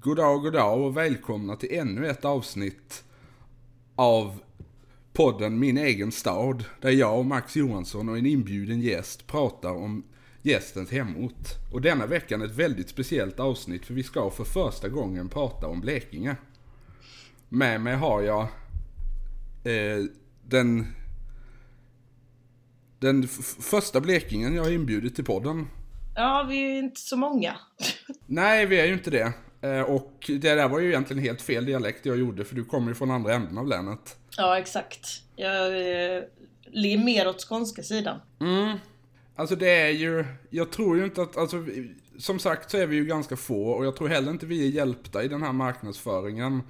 God dag, god dag och välkomna till ännu ett avsnitt av podden Min egen stad. Där jag och Max Johansson och en inbjuden gäst pratar om gästens hemort. Och denna veckan ett väldigt speciellt avsnitt för vi ska för första gången prata om Blekinge. Med mig har jag eh, den, den f- första Blekingen jag har inbjudit till podden. Ja, vi är ju inte så många. Nej, vi är ju inte det. Eh, Och det där var ju egentligen helt fel dialekt jag gjorde för du kommer ju från andra änden av länet. Ja, exakt. Jag eh, ligger mer åt skånska sidan. Alltså det är ju, jag tror ju inte att, alltså vi- som sagt så är vi ju ganska få och jag tror heller inte vi är hjälpta i den här marknadsföringen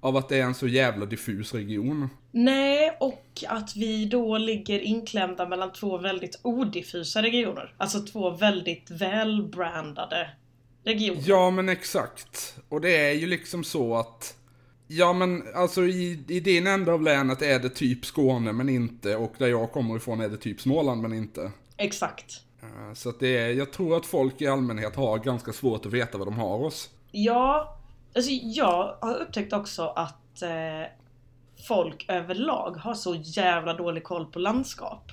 av att det är en så jävla diffus region. Nej, och att vi då ligger inklämda mellan två väldigt odiffusa regioner. Alltså två väldigt välbrandade regioner. Ja men exakt. Och det är ju liksom så att Ja men alltså i, i din ända av länet är det typ Skåne men inte och där jag kommer ifrån är det typ Småland men inte. Exakt. Eh, Så att det är, jag tror att folk i allmänhet har ganska svårt att veta vad de har oss. Ja, alltså jag har upptäckt också att eh, folk överlag har så jävla dålig koll på landskap.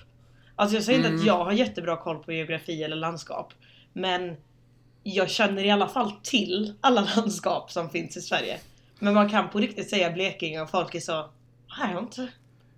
Alltså jag säger Mm. inte att jag har jättebra koll på geografi eller landskap. Men jag känner i alla fall till alla landskap som finns i Sverige. Men man kan på riktigt säga Blekinge och folk är så... "Nej, Jag har inte, jag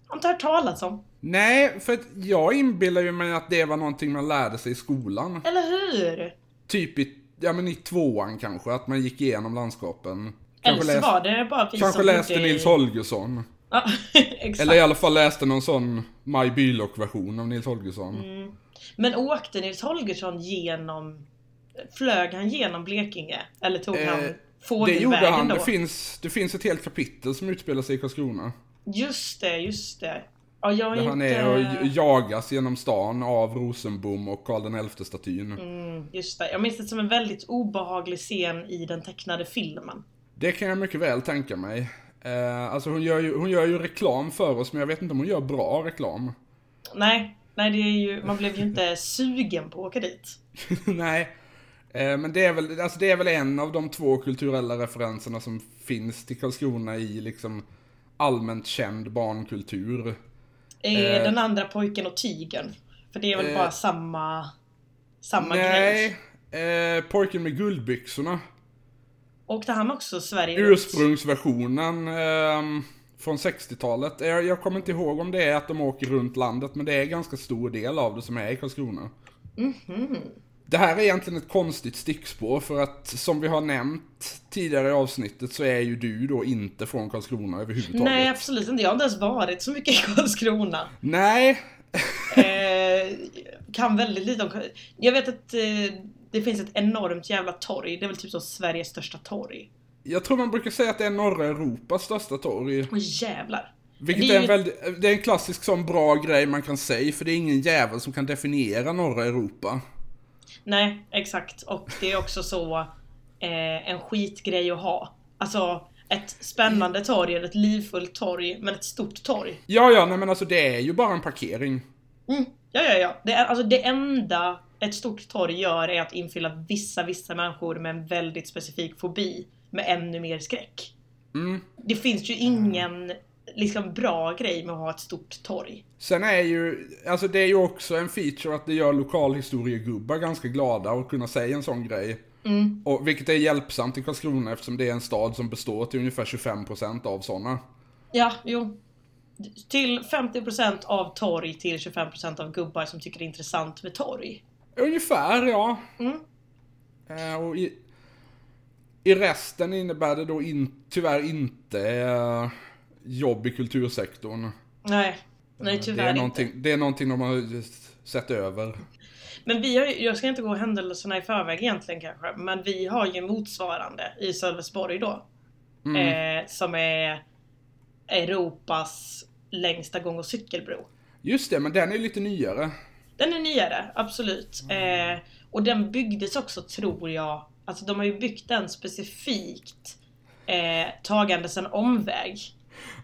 har inte hört talas om. Nej, för att jag inbillar ju mig att det var någonting man lärde sig i skolan. Eller hur? Typ i, ja men i tvåan kanske, att man gick igenom landskapen. Eller Kanske, så läst, var det bara vi kanske som läste bodde i- Nils Holgersson. Ja, exakt. Eller i alla fall läste någon sån Maj Bylock-version av Nils Holgersson. Mm, Men åkte Nils Holgersson genom... Flög han genom Blekinge? Eller tog Eh, han det gjorde fågelvägen han, då? det finns, det finns ett helt kapitel som utspelar sig i Karlskrona. Just det, just det. Ja, jag har Där inte... han är och j- jagas genom stan av Rosenbom och Karl XI-statyn. Mm, just det. Jag minns det som en väldigt obehaglig scen i den tecknade filmen. Det kan jag mycket väl tänka mig. Eh, alltså hon gör, ju, hon gör ju reklam för oss, men jag vet inte om hon gör bra reklam. Nej, nej det är ju, man blev ju inte sugen på att åka dit. Nej. Eh, men det är, väl, alltså det är väl en av de två kulturella referenserna som finns till Karlskrona i liksom allmänt känd barnkultur. Eh, Eh. den andra pojken och tigern. För det är väl Eh. bara samma... Samma grej. Nej, eh, Pojken med guldbyxorna. Åkte han också Sverige runt? Ursprungsversionen ehm, från 60-talet. Eh, Jag, jag kommer inte ihåg om det är att de åker runt landet, men det är en ganska stor del av det som är i Karlskrona. Det här är egentligen ett konstigt stickspår för att som vi har nämnt tidigare i avsnittet så är ju du då inte från Karlskrona överhuvudtaget. Nej, absolut inte. Jag har inte ens varit så mycket i Karlskrona. Nej, Eh, kan väldigt lite om Jag vet att eh, det finns ett enormt jävla torg. Det är väl typ som Sveriges största torg. jag tror man brukar säga att det är norra Europas största torg. Åh jävlar. Vilket är Det är en, ju- väldigt, det är en klassisk sån bra grej man kan säga för det är ingen jävel som kan definiera norra Europa. Nej, exakt. Och det är också så eh, en skitgrej att ha. Alltså ett spännande torg, eller ett livfullt torg, men ett stort torg. Ja, ja, nej men alltså det är ju bara en parkering. Mm. Ja, ja, ja. Det, är, alltså, det enda ett stort torg gör är att infylla vissa, vissa människor med en väldigt specifik fobi med ännu mer skräck. Mm. Det finns ju ingen liksom bra grej med att ha ett stort torg. Sen är ju, alltså det är ju också en feature att det gör lokalhistoriegubbar ganska glada och kunna säga en sån grej. Och, vilket är hjälpsamt i Karlskrona eftersom det är en stad som består till ungefär 25% av sådana. Ja, jo. Till 50% av torg till 25% av gubbar som tycker det är intressant med torg. Ungefär, ja. Mm. Eh, och i, I resten innebär det då in, tyvärr inte eh, jobb i kultursektorn. Nej, nej Mm, det, tyvärr är inte. någonting, det är någonting de har just sett över. Men vi har ju, jag ska inte gå händelserna i förväg egentligen kanske, men vi har ju motsvarande i Sölvesborg då. Mm. Eh, som är Europas längsta gång och cykelbro. Just det, men den är lite nyare. Den är nyare, absolut. Mm. Eh, och den byggdes också tror jag, alltså de har ju byggt den specifikt eh, tagandes en omväg.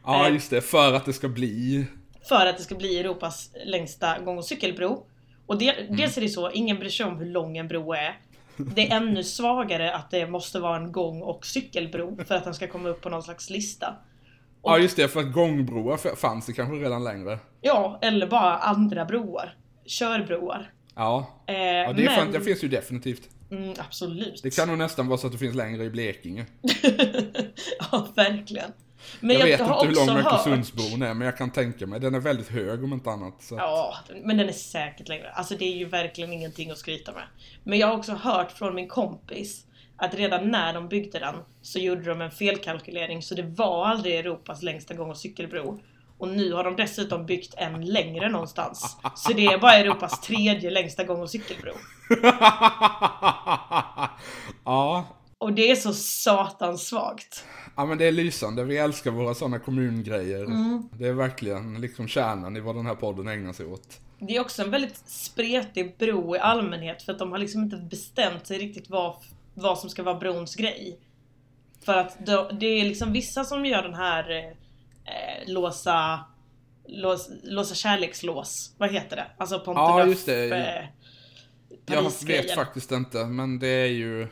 Ja, Eh. just det, för att det ska bli... För att det ska bli Europas längsta gång och cykelbro. Och det, Mm. dels är det så, ingen bryr sig om hur lång en bro är. Det är ännu svagare att det måste vara en gång och cykelbro för att den ska komma upp på någon slags lista. Ja just det, för att gångbroar f- fanns det kanske redan längre. Ja, eller bara andra broar. Körbroar. Ja. Eh, ja det, är fan, men- det finns ju definitivt. Mm, absolut. Det kan nog nästan vara så att det finns längre i Blekinge. ja, verkligen. Men jag, jag, vet har inte hur också lång hört- Öresundsbron är, men jag kan tänka mig. Den är väldigt hög om inte annat. Så. Ja, men den är säkert längre. Alltså det är ju verkligen ingenting att skryta med. Men jag har också hört från min kompis att redan när de byggde den så gjorde de en felkalkylering så det var aldrig Europas längsta gång och cykelbro. Och nu har de dessutom byggt en längre någonstans. Så det är bara Europas tredje längsta gång och cykelbro. ja. Och det är så satans svagt. ja, men det är lysande. Vi älskar våra sådana kommungrejer. Mm. Det är verkligen liksom kärnan i vad den här podden ägnar sig åt. Det är också en väldigt spretig bro i allmänhet för att de har liksom inte bestämt sig riktigt vad, vad som ska vara brons grej. För att då, det är liksom vissa som gör den här eh, eh, låsa, lås, låsa kärlekslås. Vad heter det? Alltså Ponte Ja, Neuf, just det. eh, Jag Parisgrejen. vet faktiskt inte, men det är ju...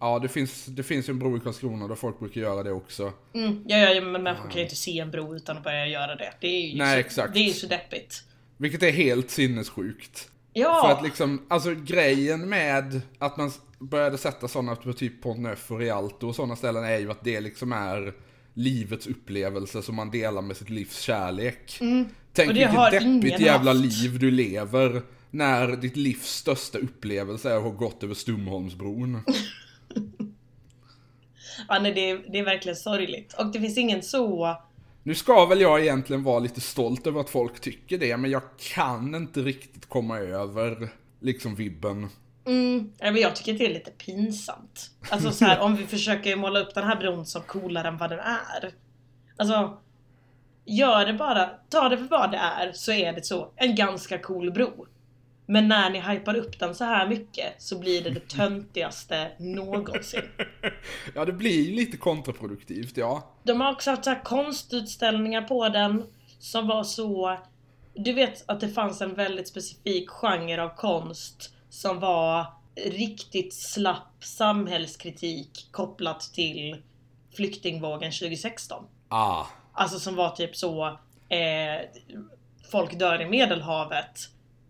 Ja, det finns, det finns ju en bro i Karlskrona där folk brukar göra det också. Mm, ja, ja, ja, men människor kan ju inte se en bro utan att börja göra det. Det är ju, Nej, så, exakt. Det är ju så deppigt. Vilket är helt sinnessjukt. Ja! För att liksom, alltså grejen med att man s- började sätta sådana på typ Pont Neuf och Rialto och sådana ställen är ju att det liksom är livets upplevelse som man delar med sitt livs kärlek. Tänk Mm. Och det har vilket deppigt ingen jävla haft. liv du lever när ditt livs största upplevelse är att ha gått över Stumholmsbron. ja nej, det, är, det är verkligen sorgligt. Och det finns ingen så... Nu ska väl jag egentligen vara lite stolt över att folk tycker det, men jag kan inte riktigt komma över liksom vibben. Mm, ja, men jag tycker att det är lite pinsamt. Alltså så här, om vi försöker måla upp den här bron som coolare än vad den är. Alltså, gör det bara, ta det för vad det är så är det så, en ganska cool bro. Men när ni hypar upp den så här mycket så blir det det töntigaste någonsin. Ja, det blir ju lite kontraproduktivt, ja. De har också haft så här konstutställningar på den som var så... Du vet att det fanns en väldigt specifik genre av konst som var riktigt slapp samhällskritik kopplat till flyktingvågen 2016. Ah. Alltså som var typ så eh, Folk dör i medelhavet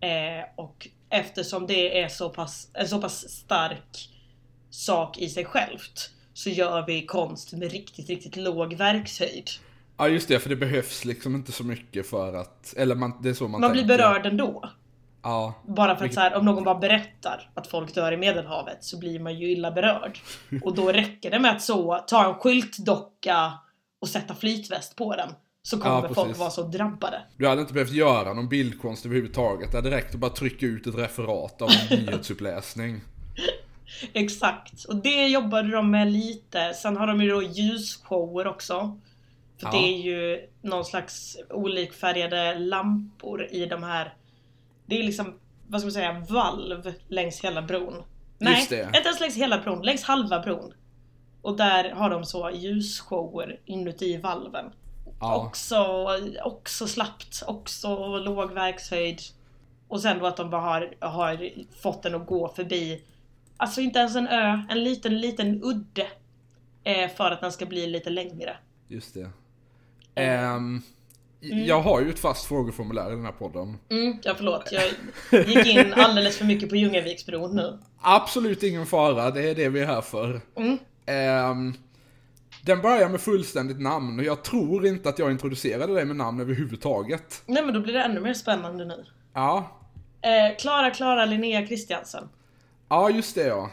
eh, Och eftersom det är så pass, en så pass stark sak i sig självt Så gör vi konst med riktigt, riktigt låg verkshöjd Ja just det, för det behövs liksom inte så mycket för att, eller man, det är så man, Man tänker. blir berörd ändå Ja. Bara för att så här, om någon bara berättar att folk dör i medelhavet så blir man ju illa berörd Och då räcker det med att så ta en skyltdocka och sätta flytväst på den Så kommer folk precis. vara så drabbade Du hade inte behövt göra någon bildkonst överhuvudtaget. Det hade räckt att bara trycka ut ett referat av en nyhetsuppläsning. Exakt, och det jobbade de med lite. Sen har de ju då ljusshower också. För Ja. det är ju någon slags olikfärgade lampor i de här. Det är liksom, vad ska man säga, valv längs hela bron. Nej, Just det. inte ens längs hela bron, längs halva bron. Och där har de så ljusshower inuti valven. Ja. Också, också slappt, också låg verkshöjd. Och sen då att de bara har, har fått den att gå förbi, alltså inte ens en ö, en liten, liten udde. Eh, för att den ska bli lite längre. Just det. Ehm, Jag har ju ett fast frågeformulär i den här podden. Mm, ja förlåt, jag gick in alldeles för mycket på Ljungaviksbron nu. Absolut ingen fara, det är det vi är här för. Mm. Ehm, den börjar med fullständigt namn och jag tror inte att jag introducerade dig med namn överhuvudtaget. Nej men då blir det ännu mer spännande nu. Ja, Eh, Klara, Klara, Linnea Kristiansen. ja just det ja.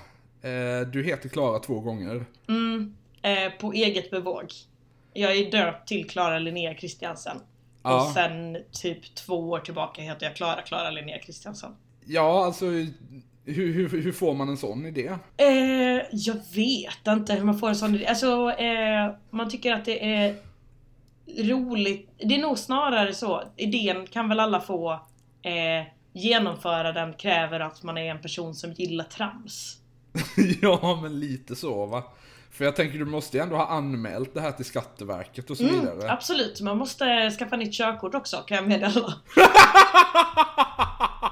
Eh, du heter Klara två gånger. Mm, eh, på eget bevåg. Jag är döpt till Klara Linnea Kristiansen. Ja. Och sen typ två år tillbaka heter jag Klara Klara Linnea Kristiansen. Ja, alltså hur, hur, hur får man en sån idé? Eh, jag vet inte hur man får en sån idé. Alltså, eh, man tycker att det är roligt. Det är nog snarare så. Idén kan väl alla få. Eh, genomföra den kräver att man är en person som gillar trams. ja, men lite så va. För jag tänker du måste ju ändå ha anmält det här till Skatteverket och så Mm, vidare. Absolut, man måste skaffa nytt körkort också kan jag meddela.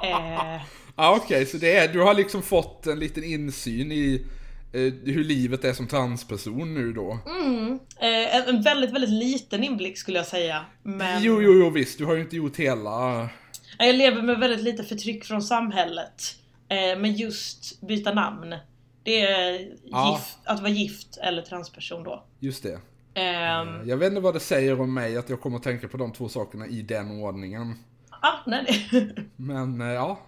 Eh, Ja, okej, så det är, du har liksom fått en liten insyn i eh, hur livet är som transperson nu då. mm, eh, en- en väldigt, väldigt liten inblick skulle jag säga. Men Jo, jo, jo, visst, du har ju inte gjort hela... Nej, jag lever med väldigt lite förtryck från samhället. Eh, men just byta namn. Det är Ja. gift, att vara gift eller transperson då. Just det. Ehm, Jag vet inte vad det säger om mig att jag kommer att tänka på de två sakerna i den ordningen. ah, nej, nej. Men eh, ja,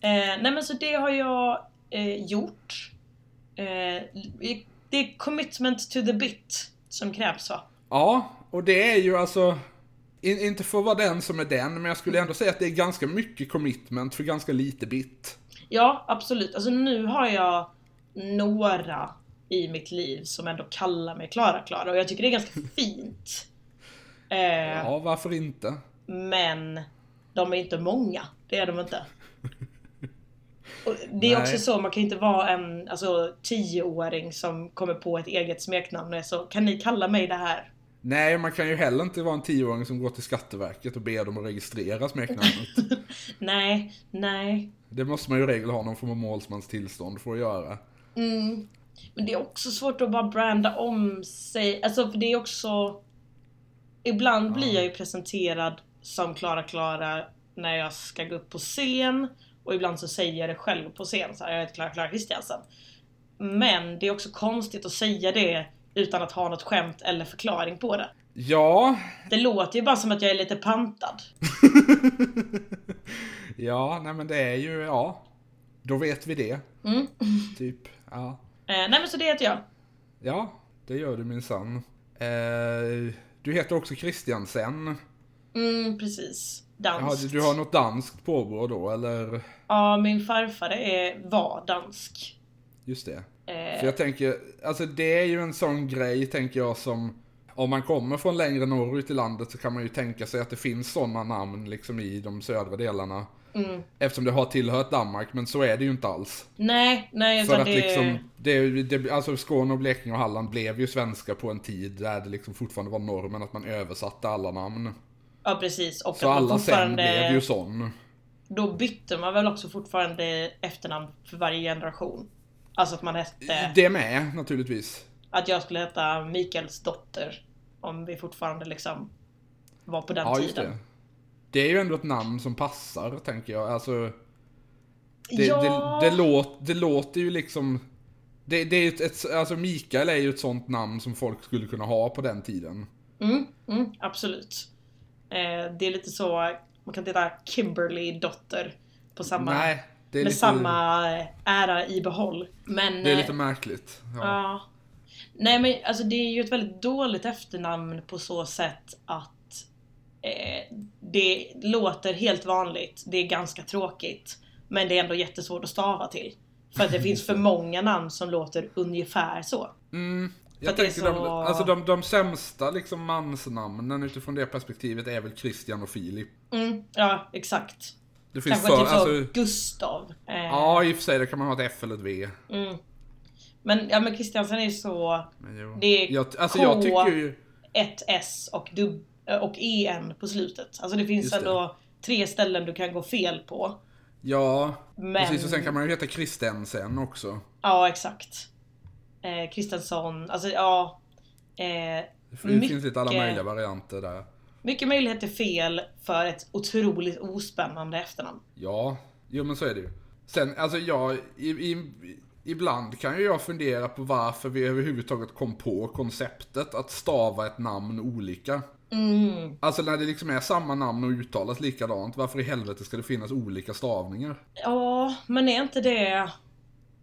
Eh, nej men så det har jag eh, gjort. Eh, det är commitment to the bit som krävs va? Ja, och det är ju alltså... In, inte för att vara den som är den, men jag skulle ändå säga att det är ganska mycket commitment för ganska lite bit. Ja, absolut. Alltså nu har jag några i mitt liv som ändå kallar mig Klara Klara och jag tycker det är ganska fint. Eh, Ja, varför inte? Men de är inte många. Det är de inte. Och det är Nej. också så, man kan ju inte vara en alltså, tioåring som kommer på ett eget smeknamn och är så Kan ni kalla mig det här? Nej, man kan ju heller inte vara en tioåring som går till Skatteverket och ber dem att registrera smeknamnet. Nej, nej. Det måste man ju i regel ha någon form av målsmans tillstånd för att göra. Mm. Men det är också svårt att bara branda om sig. Alltså för det är också... Ibland blir jag ju presenterad som Klara Klara när jag ska gå upp på scen. Och ibland så säger jag det själv på scen. Så här, jag heter Klara Klara Kristiansen. Men det är också konstigt att säga det utan att ha något skämt eller förklaring på det. Ja... Det låter ju bara som att jag är lite pantad. ja, nej men det är ju, ja. Då vet vi det. Mm. Typ, ja. Eh, nej men så det heter jag. Ja, det gör du minsann. Eh, du heter också Christiansen. Mm, precis. Jaha, Danskt. du, du har något danskt påbrå då, eller? Ja, min farfar är, var dansk. Just det. Eh, För jag tänker, alltså det är ju en sån grej, tänker jag, som om man kommer från längre norrut i landet så kan man ju tänka sig att det finns sådana namn liksom i de södra delarna. Mm. Eftersom det har tillhört Danmark, men så är det ju inte alls. Nej, nej För utan att det... liksom, det, det, alltså Skåne och Blekinge och Halland blev ju svenska på en tid där det liksom fortfarande var normen att man översatte alla namn. Ja precis, och Så att man alla sen fortfarande... blev ju sån. Då bytte man väl också fortfarande efternamn för varje generation. Alltså att man hette... Det med, naturligtvis. Att jag skulle heta Mikaels dotter. Om vi fortfarande liksom var på den Ja, just tiden. det. Det är ju ändå ett namn som passar, tänker jag. Alltså, det, ja, det, det, låt, det låter ju liksom... Det, det är ju ett, ett, alltså Mikael är ju ett sånt namn som folk skulle kunna ha på den tiden. mm, mm, absolut. Eh, det är lite så, man kan inte heta Kimberly dotter på samma... Nej, det är, med lite, samma ära i behåll. Men... det är eh, lite märkligt. Ja. Ja. Nej men alltså det är ju ett väldigt dåligt efternamn på så sätt att eh, det låter helt vanligt, det är ganska tråkigt, men det är ändå jättesvårt att stava till. För att det finns för många namn som låter ungefär så. Mm, För jag att det är tänker de, så- alltså de, de sämsta liksom mansnamnen utifrån det perspektivet är väl Christian och Filip. Mm, ja, exakt. Det finns Kanske för, typ så alltså, Gustav. Eh, ja i och för sig, där kan man ha ett F eller ett V. mm. Men, ja, men Kristiansen är ju så Men jo. Det är jag, alltså K. jag tycker ju... ett S och, dub- och EN på slutet. Alltså det finns Just det. ändå tre ställen du kan gå fel på. Ja, Men- precis. Och sen kan man ju heta Kristensen också. Ja, exakt. Eh, Kristensson, alltså ja. Eh, Det finns lite alla möjliga varianter där. mycket möjlighet till fel för ett otroligt ospännande efternamn. Ja, jo men så är det ju. Sen, alltså jag, i, i, ibland kan ju jag fundera på varför vi överhuvudtaget kom på konceptet att stava ett namn olika. Mm. Alltså när det liksom är samma namn och uttalas likadant, varför i helvete ska det finnas olika stavningar? Ja, men är inte det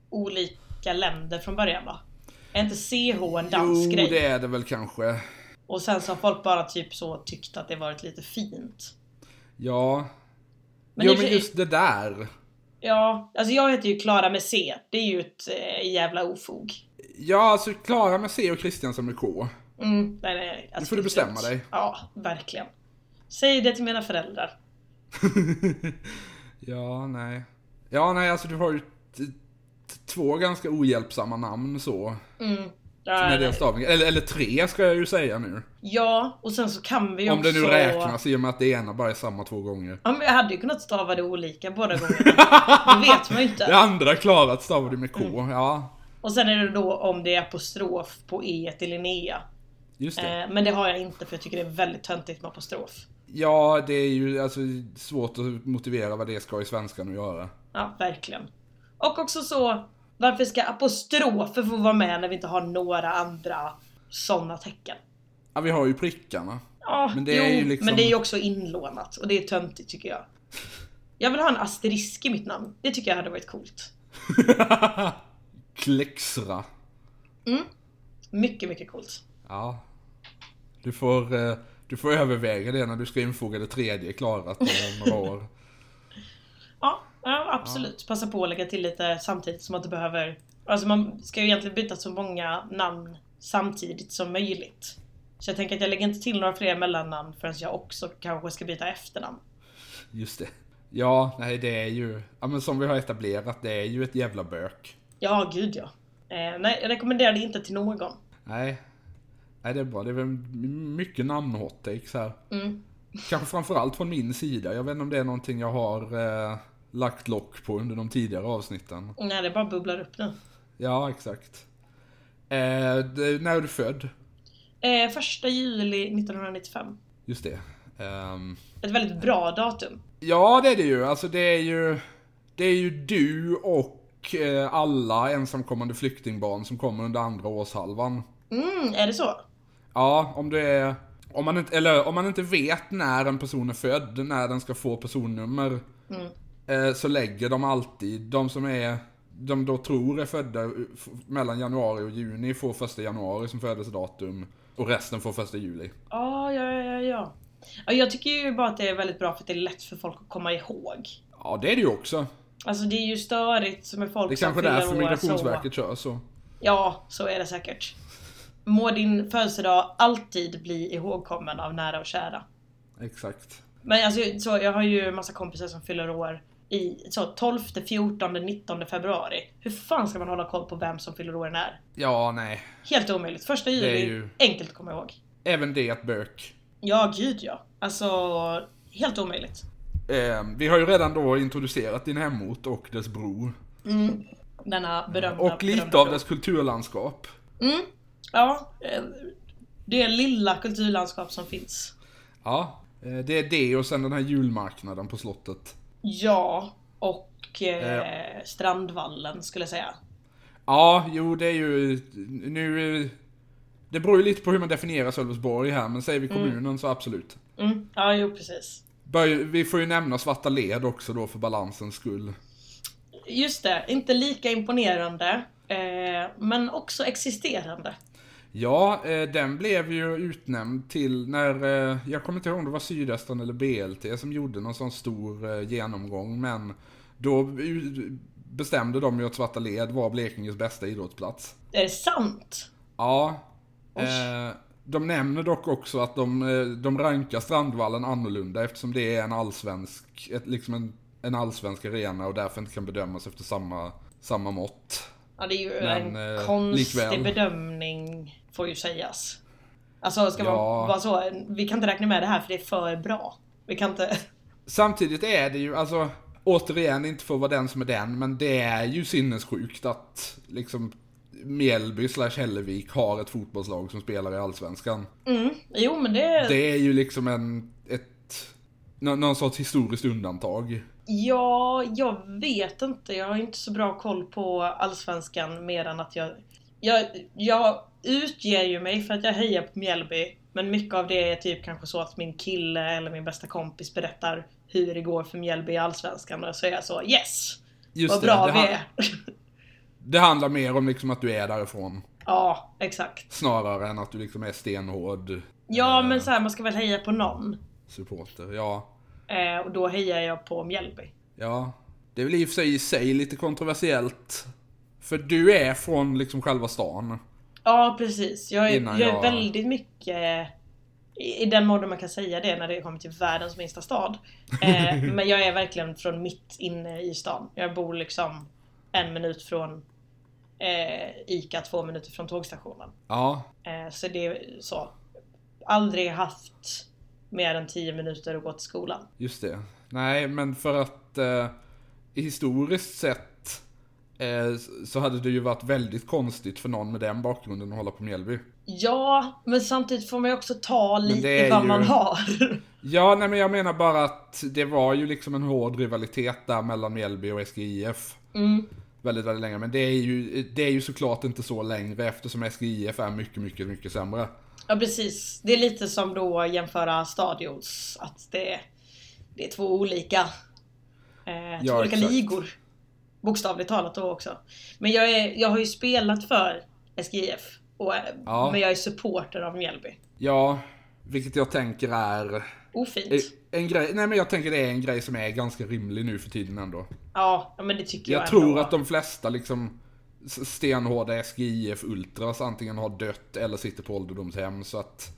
olika länder från början va? Är inte CH en dansk jo, grej? det är det väl kanske. Och sen så har folk bara typ så tyckt att det varit lite fint. Ja. Men jo i och för men sig- just det där. Ja, alltså jag heter ju Klara med C. Det är ju ett eh, jävla ofog. Ja, alltså Klara med C och Kristiansson med K. Mm, nej, nej, nej. Nu får du bestämma dig. Ja, verkligen. Säg det till mina föräldrar. ja, nej. Ja, nej, alltså du har ju t- t- två ganska ohjälpsamma namn så. Mm. med Nej. den stavningen. Eller, eller tre ska jag ju säga nu. Ja, och sen så kan vi ju Om också... det nu räknas i och med att det ena bara är samma två gånger. Ja, men jag hade ju kunnat stava det olika båda gångerna. Det vet man ju inte. Det andra klarat stavar du med Mm. K. Ja, Och sen är det då om det är apostrof på E till Linnea. just det. Eh, men det har jag inte för jag tycker det är väldigt töntigt med apostrof. Ja, det är ju alltså svårt att motivera vad det ska i svenskan att göra. Ja, verkligen. Och också så, varför ska apostrofer få vara med när vi inte har några andra sådana tecken? Ja, vi har ju prickarna. Ja, Men det är jo, ju liksom- men det är ju också inlånat och det är töntigt tycker jag. Jag vill ha en asterisk i mitt namn. Det tycker jag hade varit coolt. Klexra. Mycket, mycket coolt. Ja. Du får, eh, du får överväga det när du ska infoga det tredje klarat om några år. Ja, ja absolut. Passa på att lägga till lite samtidigt som man inte behöver... Alltså man ska ju egentligen byta så många namn samtidigt som möjligt. Så jag tänker att jag lägger inte till några fler mellannamn förrän jag också kanske ska byta efternamn. Just det. Ja, nej det är ju, ja men som vi har etablerat, det är ju ett jävla bök. Ja, gud ja. Eh, nej, jag rekommenderar det inte till någon. Nej. Nej det är bra, det är väl mycket namn-hottakes här. Mm. Kanske framförallt från min sida, jag vet inte om det är någonting jag har eh, lagt lock på under de tidigare avsnitten. Nej, det bara bubblar upp nu. Ja, exakt. Eh, det, när är du född? Eh, första juli 1995. Just det. Ehm, Ett väldigt bra datum. Ja, det är det ju. Alltså det är ju, det är ju du och eh, alla ensamkommande flyktingbarn som kommer under andra årshalvan. Mm, är det så? Ja, om det är... Om man, inte, eller, om man inte vet när en person är född, när den ska få personnummer, Mm. eh, så lägger de alltid, de som är, de då tror är födda f- mellan januari och juni får första januari som födelsedatum och resten får första juli. Ah, ja, ja, ja, ja. Ja, Jag tycker ju bara att det är väldigt bra för att det är lätt för folk att komma ihåg. Ja, det är det ju också. Alltså det är ju störigt med folk Det är kanske fyller därför år, Migrationsverket kör så. Så. Ja, så är det säkert. Må din födelsedag alltid bli ihågkommen av nära och kära. Exakt. Men alltså, så, jag har ju massa kompisar som fyller år i så, 12, 14, 19 februari. Hur fan ska man hålla koll på vem som fyller år när? Ja, nej. Helt omöjligt. Första är juli, ju- enkelt att komma ihåg. Även det ett bök. Ja, gud ja. Alltså, helt omöjligt. Eh, vi har ju redan då introducerat din hemort och dess bro. Mm. Denna berömda... Och lite berömda av bro. dess kulturlandskap. Mm, ja. eh, Det lilla kulturlandskap som finns. Ja, eh, det är det och sen den här julmarknaden på slottet. Ja, och eh, Strandvallen skulle jag säga. Ja, jo det är ju nu... eh, Det beror ju lite på hur man definierar Sölvesborg här, men säger vi kommunen så absolut. Mm. Ja, jo precis. Bör, vi får ju nämna Svarta led också då för balansens skull. Just det, inte lika imponerande. Eh, men också existerande. Ja, eh, den blev ju utnämnd till när, eh, jag kommer inte ihåg om det var Sydöstran eller BLT som gjorde någon sån stor eh, genomgång, men då u- bestämde de ju att Svarta Led var Blekinges bästa idrottsplats. Är det sant? Ja. Oj. Eh, de nämner dock också att de, eh, de rankar Strandvallen annorlunda eftersom det är en allsvensk, ett, liksom en, en allsvensk arena och därför inte kan bedömas efter samma, samma mått. Ja, det är ju Men, en eh, konstig likväl. bedömning, får ju sägas. Alltså, ska Ja. man vara så? Vi kan inte räkna med det här för det är för bra. Vi kan inte... Samtidigt är det ju, alltså, återigen inte för att vara den som är den, men det är ju sinnessjukt att liksom Mjällby slash Hällevik har ett fotbollslag som spelar i Allsvenskan. Mm. Jo, men det... Det är ju liksom en, ett, nå- någon sorts historiskt undantag. Ja, jag vet inte. Jag har inte så bra koll på Allsvenskan mer än att jag... Jag, jag utger ju mig för att jag hejar på Mjällby. Men mycket av det är typ kanske så att min kille eller min bästa kompis berättar hur det går för Mjällby i Allsvenskan och så är jag så yes! Just Vad det, bra det, vi han- är! det handlar mer om liksom att du är därifrån. ja, exakt. Snarare än att du liksom är stenhård Ja, Eh. men så här, man ska väl heja på någon. supporter. Ja, Eh, och då hejar jag på Mjällby. ja. Det är väl i och för sig, i sig lite kontroversiellt. För du är från liksom själva stan. Ja, precis. Jag är, Innan jag jag- är väldigt mycket i i den mån man kan säga det när det kommer till världens minsta stad. Eh, men jag är verkligen från mitt inne i stan. Jag bor liksom en minut från eh, ICA två minuter från tågstationen. Ja, Eh, så det är så. Aldrig haft mer än 10 minuter att gå till skolan. just det. Nej, men för att eh, historiskt sett eh, så hade det ju varit väldigt konstigt för någon med den bakgrunden att hålla på Mjällby. Ja, men samtidigt får man ju också ta det lite är vad ju- man har. Ja, nej men jag menar bara att det var ju liksom en hård rivalitet där mellan Mjällby och SGIF. Mm. Väldigt, väldigt länge. Men det är, ju, det är ju såklart inte så längre eftersom SGIF är mycket, mycket, mycket sämre. Ja precis. Det är lite som då jämföra stadions. Att det, det är två olika, eh, två Ja, olika exakt. ligor. Bokstavligt talat då också. Men jag, är, jag har ju spelat för SGIF. Och, eh, Ja. Men jag är supporter av Mjällby. Ja, vilket jag tänker är... Ofint. eh, En grej, nej men jag tänker det är en grej som är ganska rimlig nu för tiden ändå. Ja, ja, men det tycker jag, Jag tror ändå. att de flesta liksom s- stenhårda SGIF Ultras antingen har dött eller sitter på ålderdomshem så att...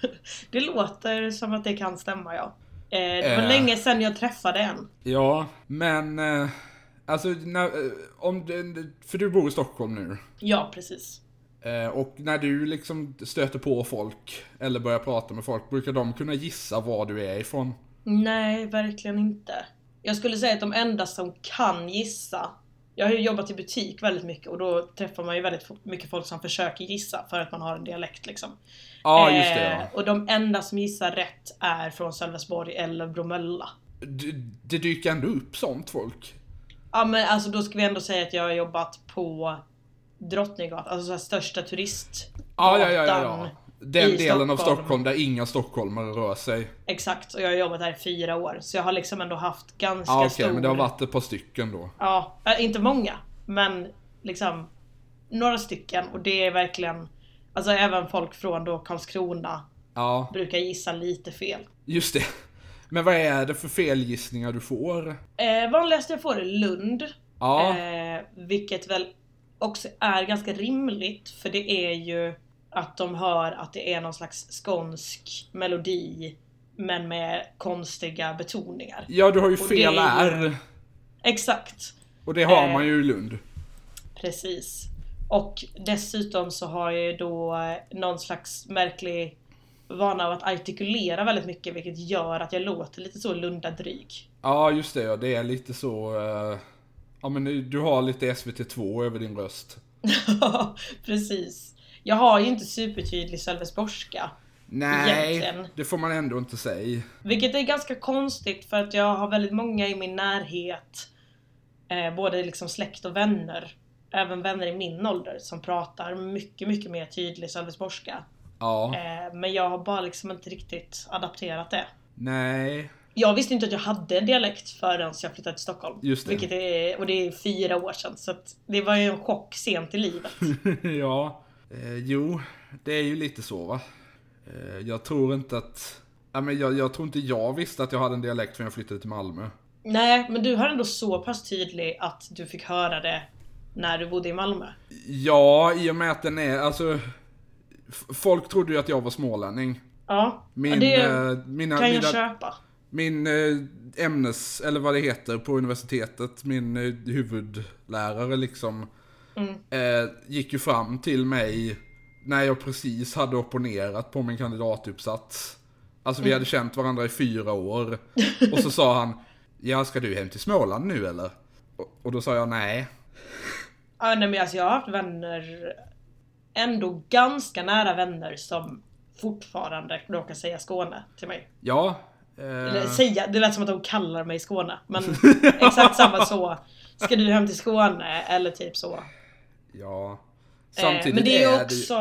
Det låter som att det kan stämma ja. Eh, det var Eh. länge sedan jag träffade en. Ja, men... eh, Alltså, när, eh, om du, för du bor i Stockholm nu. Ja precis. Eh, Och när du liksom stöter på folk, eller börjar prata med folk, brukar de kunna gissa var du är ifrån? Nej, verkligen inte. Jag skulle säga att de enda som kan gissa jag har ju jobbat i butik väldigt mycket och då träffar man ju väldigt fo- mycket folk som försöker gissa för att man har en dialekt liksom. Ja, ah, just det Eh, ja. Och de enda som gissar rätt är från Sölvesborg eller Bromölla. D- Det dyker ändå upp sånt folk. Ja men alltså då ska vi ändå säga att jag har jobbat på Drottninggatan, alltså så här största turistgatan. Ja, ja, ja, ja, ja. Den i delen av Stockholm. Stockholm där inga stockholmare rör sig. Exakt, och jag har jobbat här i fyra år. Så jag har liksom ändå haft ganska Ja, okej, stor... men det har varit ett par stycken då. Ja, äh, inte många, men liksom några stycken. Och det är verkligen... Alltså även folk från då Karlskrona Ja, brukar gissa lite fel. just det. Men vad är det för felgissningar du får? Eh, vanligast jag får är Lund. Ja, Eh, vilket väl också är ganska rimligt, för det är ju att de hör att det är någon slags skånsk melodi, men med konstiga betoningar. ja du har ju och fel det är ju- R. Exakt. Och det har eh, man ju i Lund. Precis. Och dessutom så har jag ju då eh, någon slags märklig vana av att artikulera väldigt mycket vilket gör att jag låter lite så lundadryg. Ja, just det. Ja, det är lite så... eh, Ja, men du- du har lite SVT2 över din röst. Precis. Jag har ju inte supertydlig sölvesborgska. Nej, Egentligen. det får man ändå inte säga. Vilket är ganska konstigt för att jag har väldigt många i min närhet. Eh, både liksom släkt och vänner. Även vänner i min ålder som pratar mycket, mycket mer tydlig sölvesborgska. Ja, Eh, men jag har bara liksom inte riktigt adapterat det. nej. Jag visste inte att jag hade en dialekt förrän jag flyttade till Stockholm. Just det. Vilket är, och det är fyra år sedan. Så att det var ju en chock sent i livet. ja, eh, jo, det är ju lite så va. Eh, jag tror inte att... Ja, men jag, jag tror inte jag visste att jag hade en dialekt förrän jag flyttade till Malmö. Nej, men du har ändå så pass tydlig att du fick höra det när du bodde i Malmö. Ja, i och med att den är... Alltså... f- Folk trodde ju att jag var smålänning. Ja, Min, ja, det eh, mina, kan jag mina, köpa. Min eh, ämnes, eller vad det heter på universitetet, min eh, huvudlärare liksom, Mm. eh, gick ju fram till mig när jag precis hade opponerat på min kandidatuppsats. Alltså Mm. vi hade känt varandra i fyra år. Och så sa han, ja ska du hem till Småland nu eller? Och, och då sa jag nej. Ja, nej, men alltså, jag har haft vänner, ändå ganska nära vänner som fortfarande råkar säga Skåne till mig. Ja. eh, Eller säga, det lät som att de kallar mig Skåne. Men exakt samma så. Ska du hem till Skåne? Eller typ så. ja. Eh, Samtidigt men det är ju det ju- också...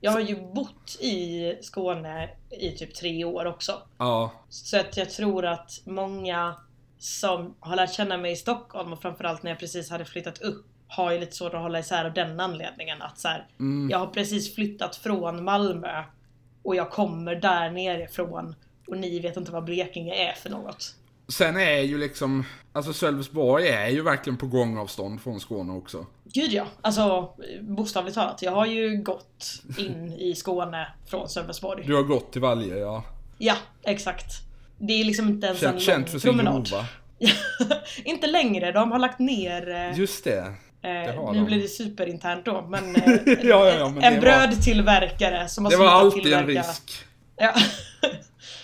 Jag har ju bott i Skåne i typ tre år också. Ja. Så att jag tror att många som har lärt känna mig i Stockholm och framförallt när jag precis hade flyttat upp har ju lite svårt att hålla isär av den anledningen att så här, jag har precis flyttat från Malmö och jag kommer där nerifrån och ni vet inte vad Blekinge är för något. Sen är ju liksom, alltså Sölvesborg är ju verkligen på gångavstånd från Skåne också. Gud ja, alltså bokstavligt talat. Jag har ju gått in i Skåne från Sölvesborg. Du har gått till Valje, ja. Ja, exakt. Det är liksom inte ens en Känt, lång känt för sin promenad. grova. inte längre, de har lagt ner eh, Just det. Det Eh, har nu de. blir det superinternt då men, eh, Ja, ja, ja, men det var- en brödtillverkare som har Det var slutat alltid en tillverka- risk. Ja.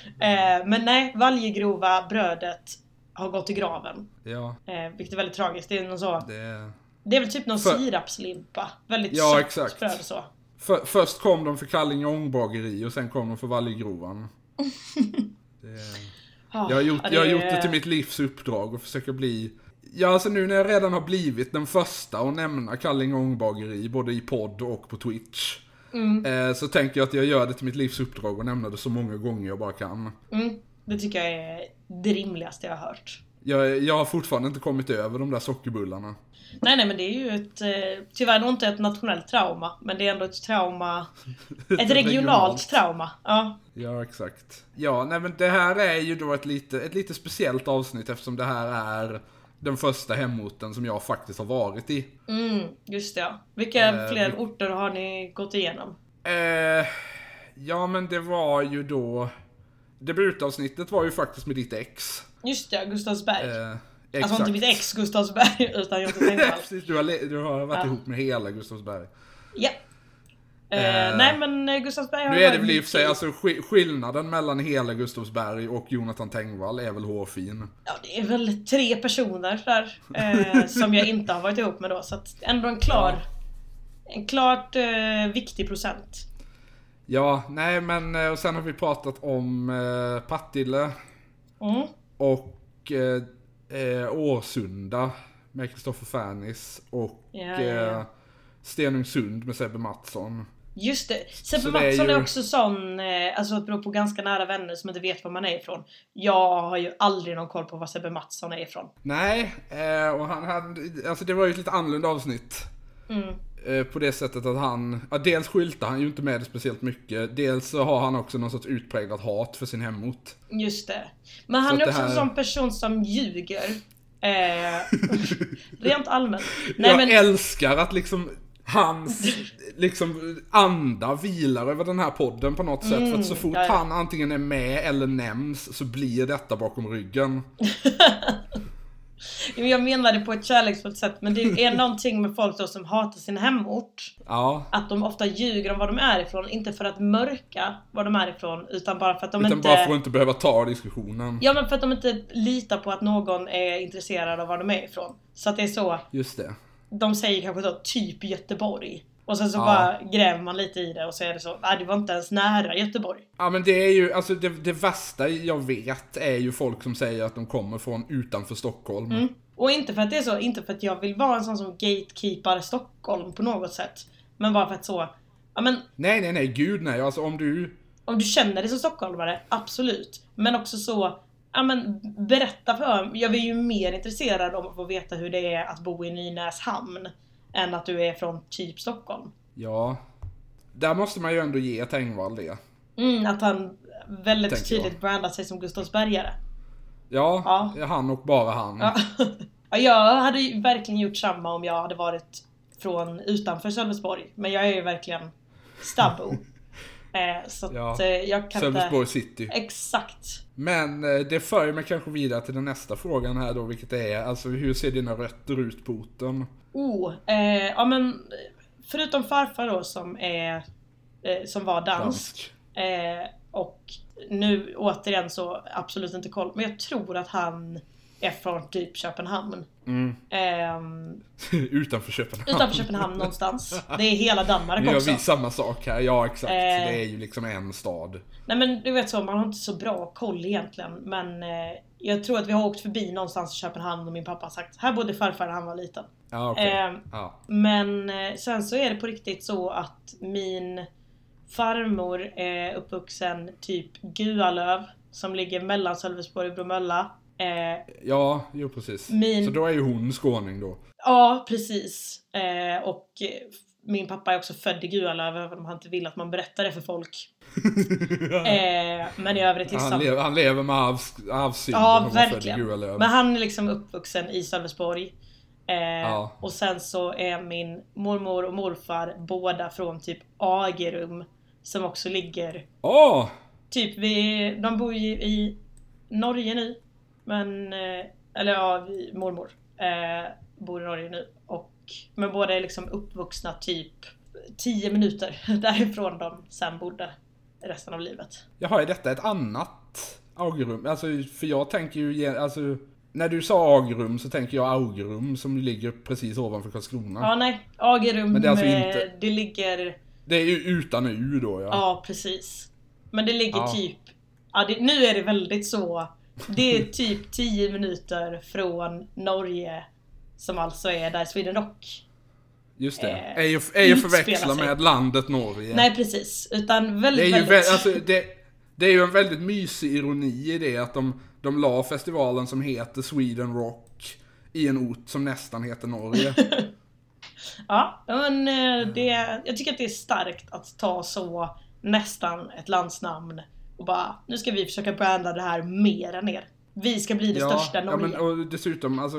eh, men nej, valjegrova brödet har gått i graven. Ja, Eh, vilket är väldigt tragiskt. Det är, någon så, det... det är väl typ någon För- sirapslimpa. Väldigt Ja, sött exakt. bröd och så. För, först kom de för Kallinge ångbageri och sen kom de för Valleygrovan. Det... Ah, Jag har, gjort, ja, jag har gjort det till mitt livs uppdrag att försöka bli... Ja, alltså nu när jag redan har blivit den första att nämna Kallinge ångbageri både i podd och på Twitch. Mm, Eh, så tänker jag att jag gör det till mitt livs uppdrag att nämna det så många gånger jag bara kan. Mm, det tycker jag är det rimligaste jag har hört. Jag, jag har fortfarande inte kommit över de där sockerbullarna. Nej, nej, men det är ju ett... Eh, tyvärr nog inte ett nationellt trauma, men det är ändå ett trauma... Ett regionalt trauma. Ja. Ja, exakt. Ja, nej men det här är ju då ett lite, ett lite speciellt avsnitt eftersom det här är den första hemorten som jag faktiskt har varit i. Mm, just det, ja. Vilka Eh, fler vi- orter har ni gått igenom? Eh, ja, men det var ju då... Debutavsnittet var ju faktiskt med ditt ex. Just det, ja, Gustavsberg. Eh, Alltså inte mitt ex Gustavsberg utan Jonte Tengvall. Precis, du har, le- du har varit Ja. ihop med hela Gustavsberg. ja. Eh, Eh, nej men eh, Gustavsberg har Nu ju är det varit väl i och för sig, mycket- alltså sk- skillnaden mellan hela Gustavsberg och Jonathan Tengvall är väl hårfin. Ja det är väl tre personer där eh, som jag inte har varit ihop med då så att ändå en klar En klart eh, viktig procent. Ja, nej men eh, och sen har vi pratat om eh, Partille Mm. och eh, eh, Årsunda med Kristoffer Fernis och Ja, ja, ja. eh, Stenungsund med Sebbe Mattsson. Just det. Sebbe Så det är Mattsson ju- är också sån, eh, alltså att bero på ganska nära vänner som inte vet var man är ifrån. Jag har ju aldrig någon koll på var Sebbe Mattsson är ifrån. Nej, eh, och han hade, alltså det var ju ett lite annorlunda avsnitt. Mm. Eh, På det sättet att han, ja, dels skyltar han ju inte med det speciellt mycket, dels så har han också någon sorts utpräglat hat för sin hemort. Just det. Men Så han att är det också en här- sån person som ljuger. Eh, rent allmänt. jag Nej men, älskar att liksom hans liksom, anda vilar över den här podden på något sätt. För att så fort Mm, ja, ja. han antingen är med eller nämns så blir detta bakom ryggen. jo, jag menar det på ett kärleksfullt sätt. Men det är någonting med folk då som hatar sin hemort. Ja. Att de ofta ljuger om var de är ifrån. Inte för att mörka var de är ifrån. Utan bara för att de Utan inte... bara för att inte behöva ta diskussionen. Ja men för att de inte litar på att någon är intresserad av var de är ifrån. Så att det är så. Just det. De säger kanske då typ Göteborg. Och sen så Ja. bara gräver man lite i det och så är det så. Nej det var inte ens nära Göteborg. Ja men det är ju, alltså det, det värsta jag vet är ju folk som säger att de kommer från utanför Stockholm. Mm. Och inte för att det är så, inte för att jag vill vara en sån som gatekeepar Stockholm på något sätt. Men bara för att så, ja men Nej nej nej, gud nej. Alltså om du, om du känner dig som stockholmare, absolut. Men också så, ja men berätta för mig. Jag är ju mer intresserad av att få veta hur det är att bo i Nynäshamn. Än att du är från typ Stockholm. ja. Där måste man ju ändå ge Tengvall det. Mm, att han väldigt Tänker tydligt jag. brandar sig som Gustavsbergare. Ja, han och bara han. Ja. Ja, jag hade ju verkligen gjort samma om jag hade varit från utanför Sölvesborg. Men jag är ju verkligen stabbo. eh, så att, Ja. eh, jag kan Sölvesborg inte... city. Exakt. Men eh, det för mig kanske vidare till den nästa frågan här då, vilket är alltså hur ser dina rötter ut på orten? Oh, eh, ja men förutom farfar då som är eh, som var dansk. Eh, och nu återigen så absolut inte koll. Men jag tror att han är från typ Köpenhamn. Mm. Ehm, Utanför Köpenhamn. utanför Köpenhamn någonstans. Det är hela Danmark Nu också. gör vi samma sak här, ja exakt. Eh. Det är ju liksom en stad. Nej men du vet så, man har inte så bra koll egentligen. Men eh, jag tror att vi har åkt förbi någonstans i Köpenhamn och min pappa har sagt här bodde farfar när han var liten. Ja, okej. Eh, Ja. men eh, sen så är det på riktigt så att min farmor är uppvuxen typ Gualöv som ligger mellan Sölvesborg och Bromölla. Eh, ja, jo precis. Min- Så då är ju hon skåning då. ja, precis. Eh, och eh, min pappa är också född i Gualöv även om han inte vill att man berättar det för folk. Eh, men i övrigt liksom. han, lever, han lever med arvs, arvssynden. Ja, hon var född i verkligen. Gualöv. Men han är liksom uppvuxen i Sölvesborg. Eh, Ja. Och sen så är min mormor och morfar båda från typ Agerum. Som också ligger Åh! typ vid, de bor ju i Norge nu. Men, eh, eller ja, vi, mormor eh, bor i Norge nu. Och Men båda är liksom uppvuxna typ 10 minuter därifrån de sen bodde resten av livet. Jaha, är detta ett annat Augerum? Alltså, för jag tänker ju, ge- alltså, när du sa Augerum så tänker jag Augerum som ligger precis ovanför Karlskrona. Ja nej, Agerum, Men det det, är alltså inte- det ligger... Det är ju utan U då ja. Ja precis. Men det ligger Ja. typ... Ja, det, nu är det väldigt så. Det är typ 10 minuter från Norge. Som alltså är där Sweden Rock. Just det. Eh, är ju, är ju utspelar förväxla sig. med landet Norge. Nej precis, utan det är väldigt, ju väldigt... vä- alltså, det, det är ju en väldigt mysig ironi i det att de, de la festivalen som heter Sweden Rock i en ort som nästan heter Norge. Ja, men eh, det, jag tycker att det är starkt att ta så nästan ett landsnamn och bara nu ska vi försöka branda det här mer än er. Vi ska bli det största ja, Norge. men, och dessutom, alltså,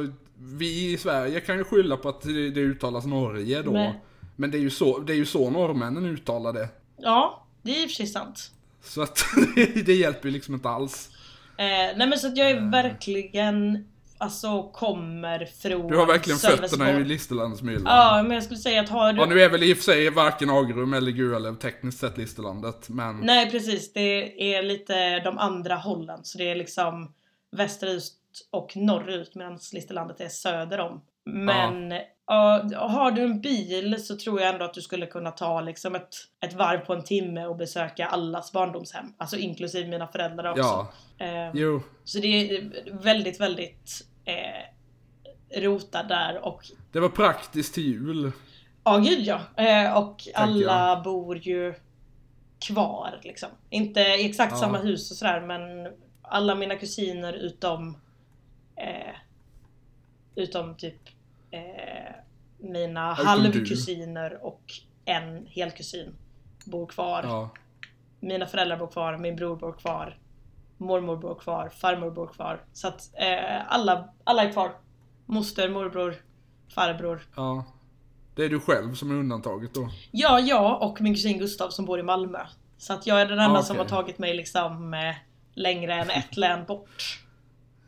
vi i Sverige kan ju skylla på att det, det uttalas Norge då. Men- Men det är ju så, det är ju så norrmännen uttalar det. Ja, det är i och för sig sant. Så att det hjälper ju liksom inte alls. Eh, nej men så att jag är verkligen, alltså kommer från Du har verkligen fötterna i Sölvesborg. Listerlandsmyllan. Ja, men jag skulle säga att har du... Ja, nu är väl i och för sig varken Agrum eller Gualöv tekniskt sett Listerlandet, men... Nej precis, det är lite de andra hållen. Så det är liksom västerut och norrut medan Listerlandet är söder om. Men ja. har du en bil så tror jag ändå att du skulle kunna ta liksom ett, ett varv på en timme och besöka allas barndomshem. Alltså inklusive mina föräldrar också. Ja, Eh, jo. Så det är väldigt, väldigt eh, rotad där och Det var praktiskt till jul. Ja gud ja. Eh, och alla bor ju kvar liksom. Inte i exakt Ja. samma hus och sådär men alla mina kusiner utom eh, utom typ eh, mina utom halvkusiner och en helkusin bor kvar. Ja. Mina föräldrar bor kvar, min bror bor kvar, mormor bor kvar, farmor bor kvar. Så att eh, alla, alla är kvar. Moster, morbror, farbror. ja. Det är du själv som är undantaget då. Ja, jag och min kusin Gustav som bor i Malmö. Så att jag är den enda Ah, som har okej. tagit mig liksom eh, längre än ett län bort.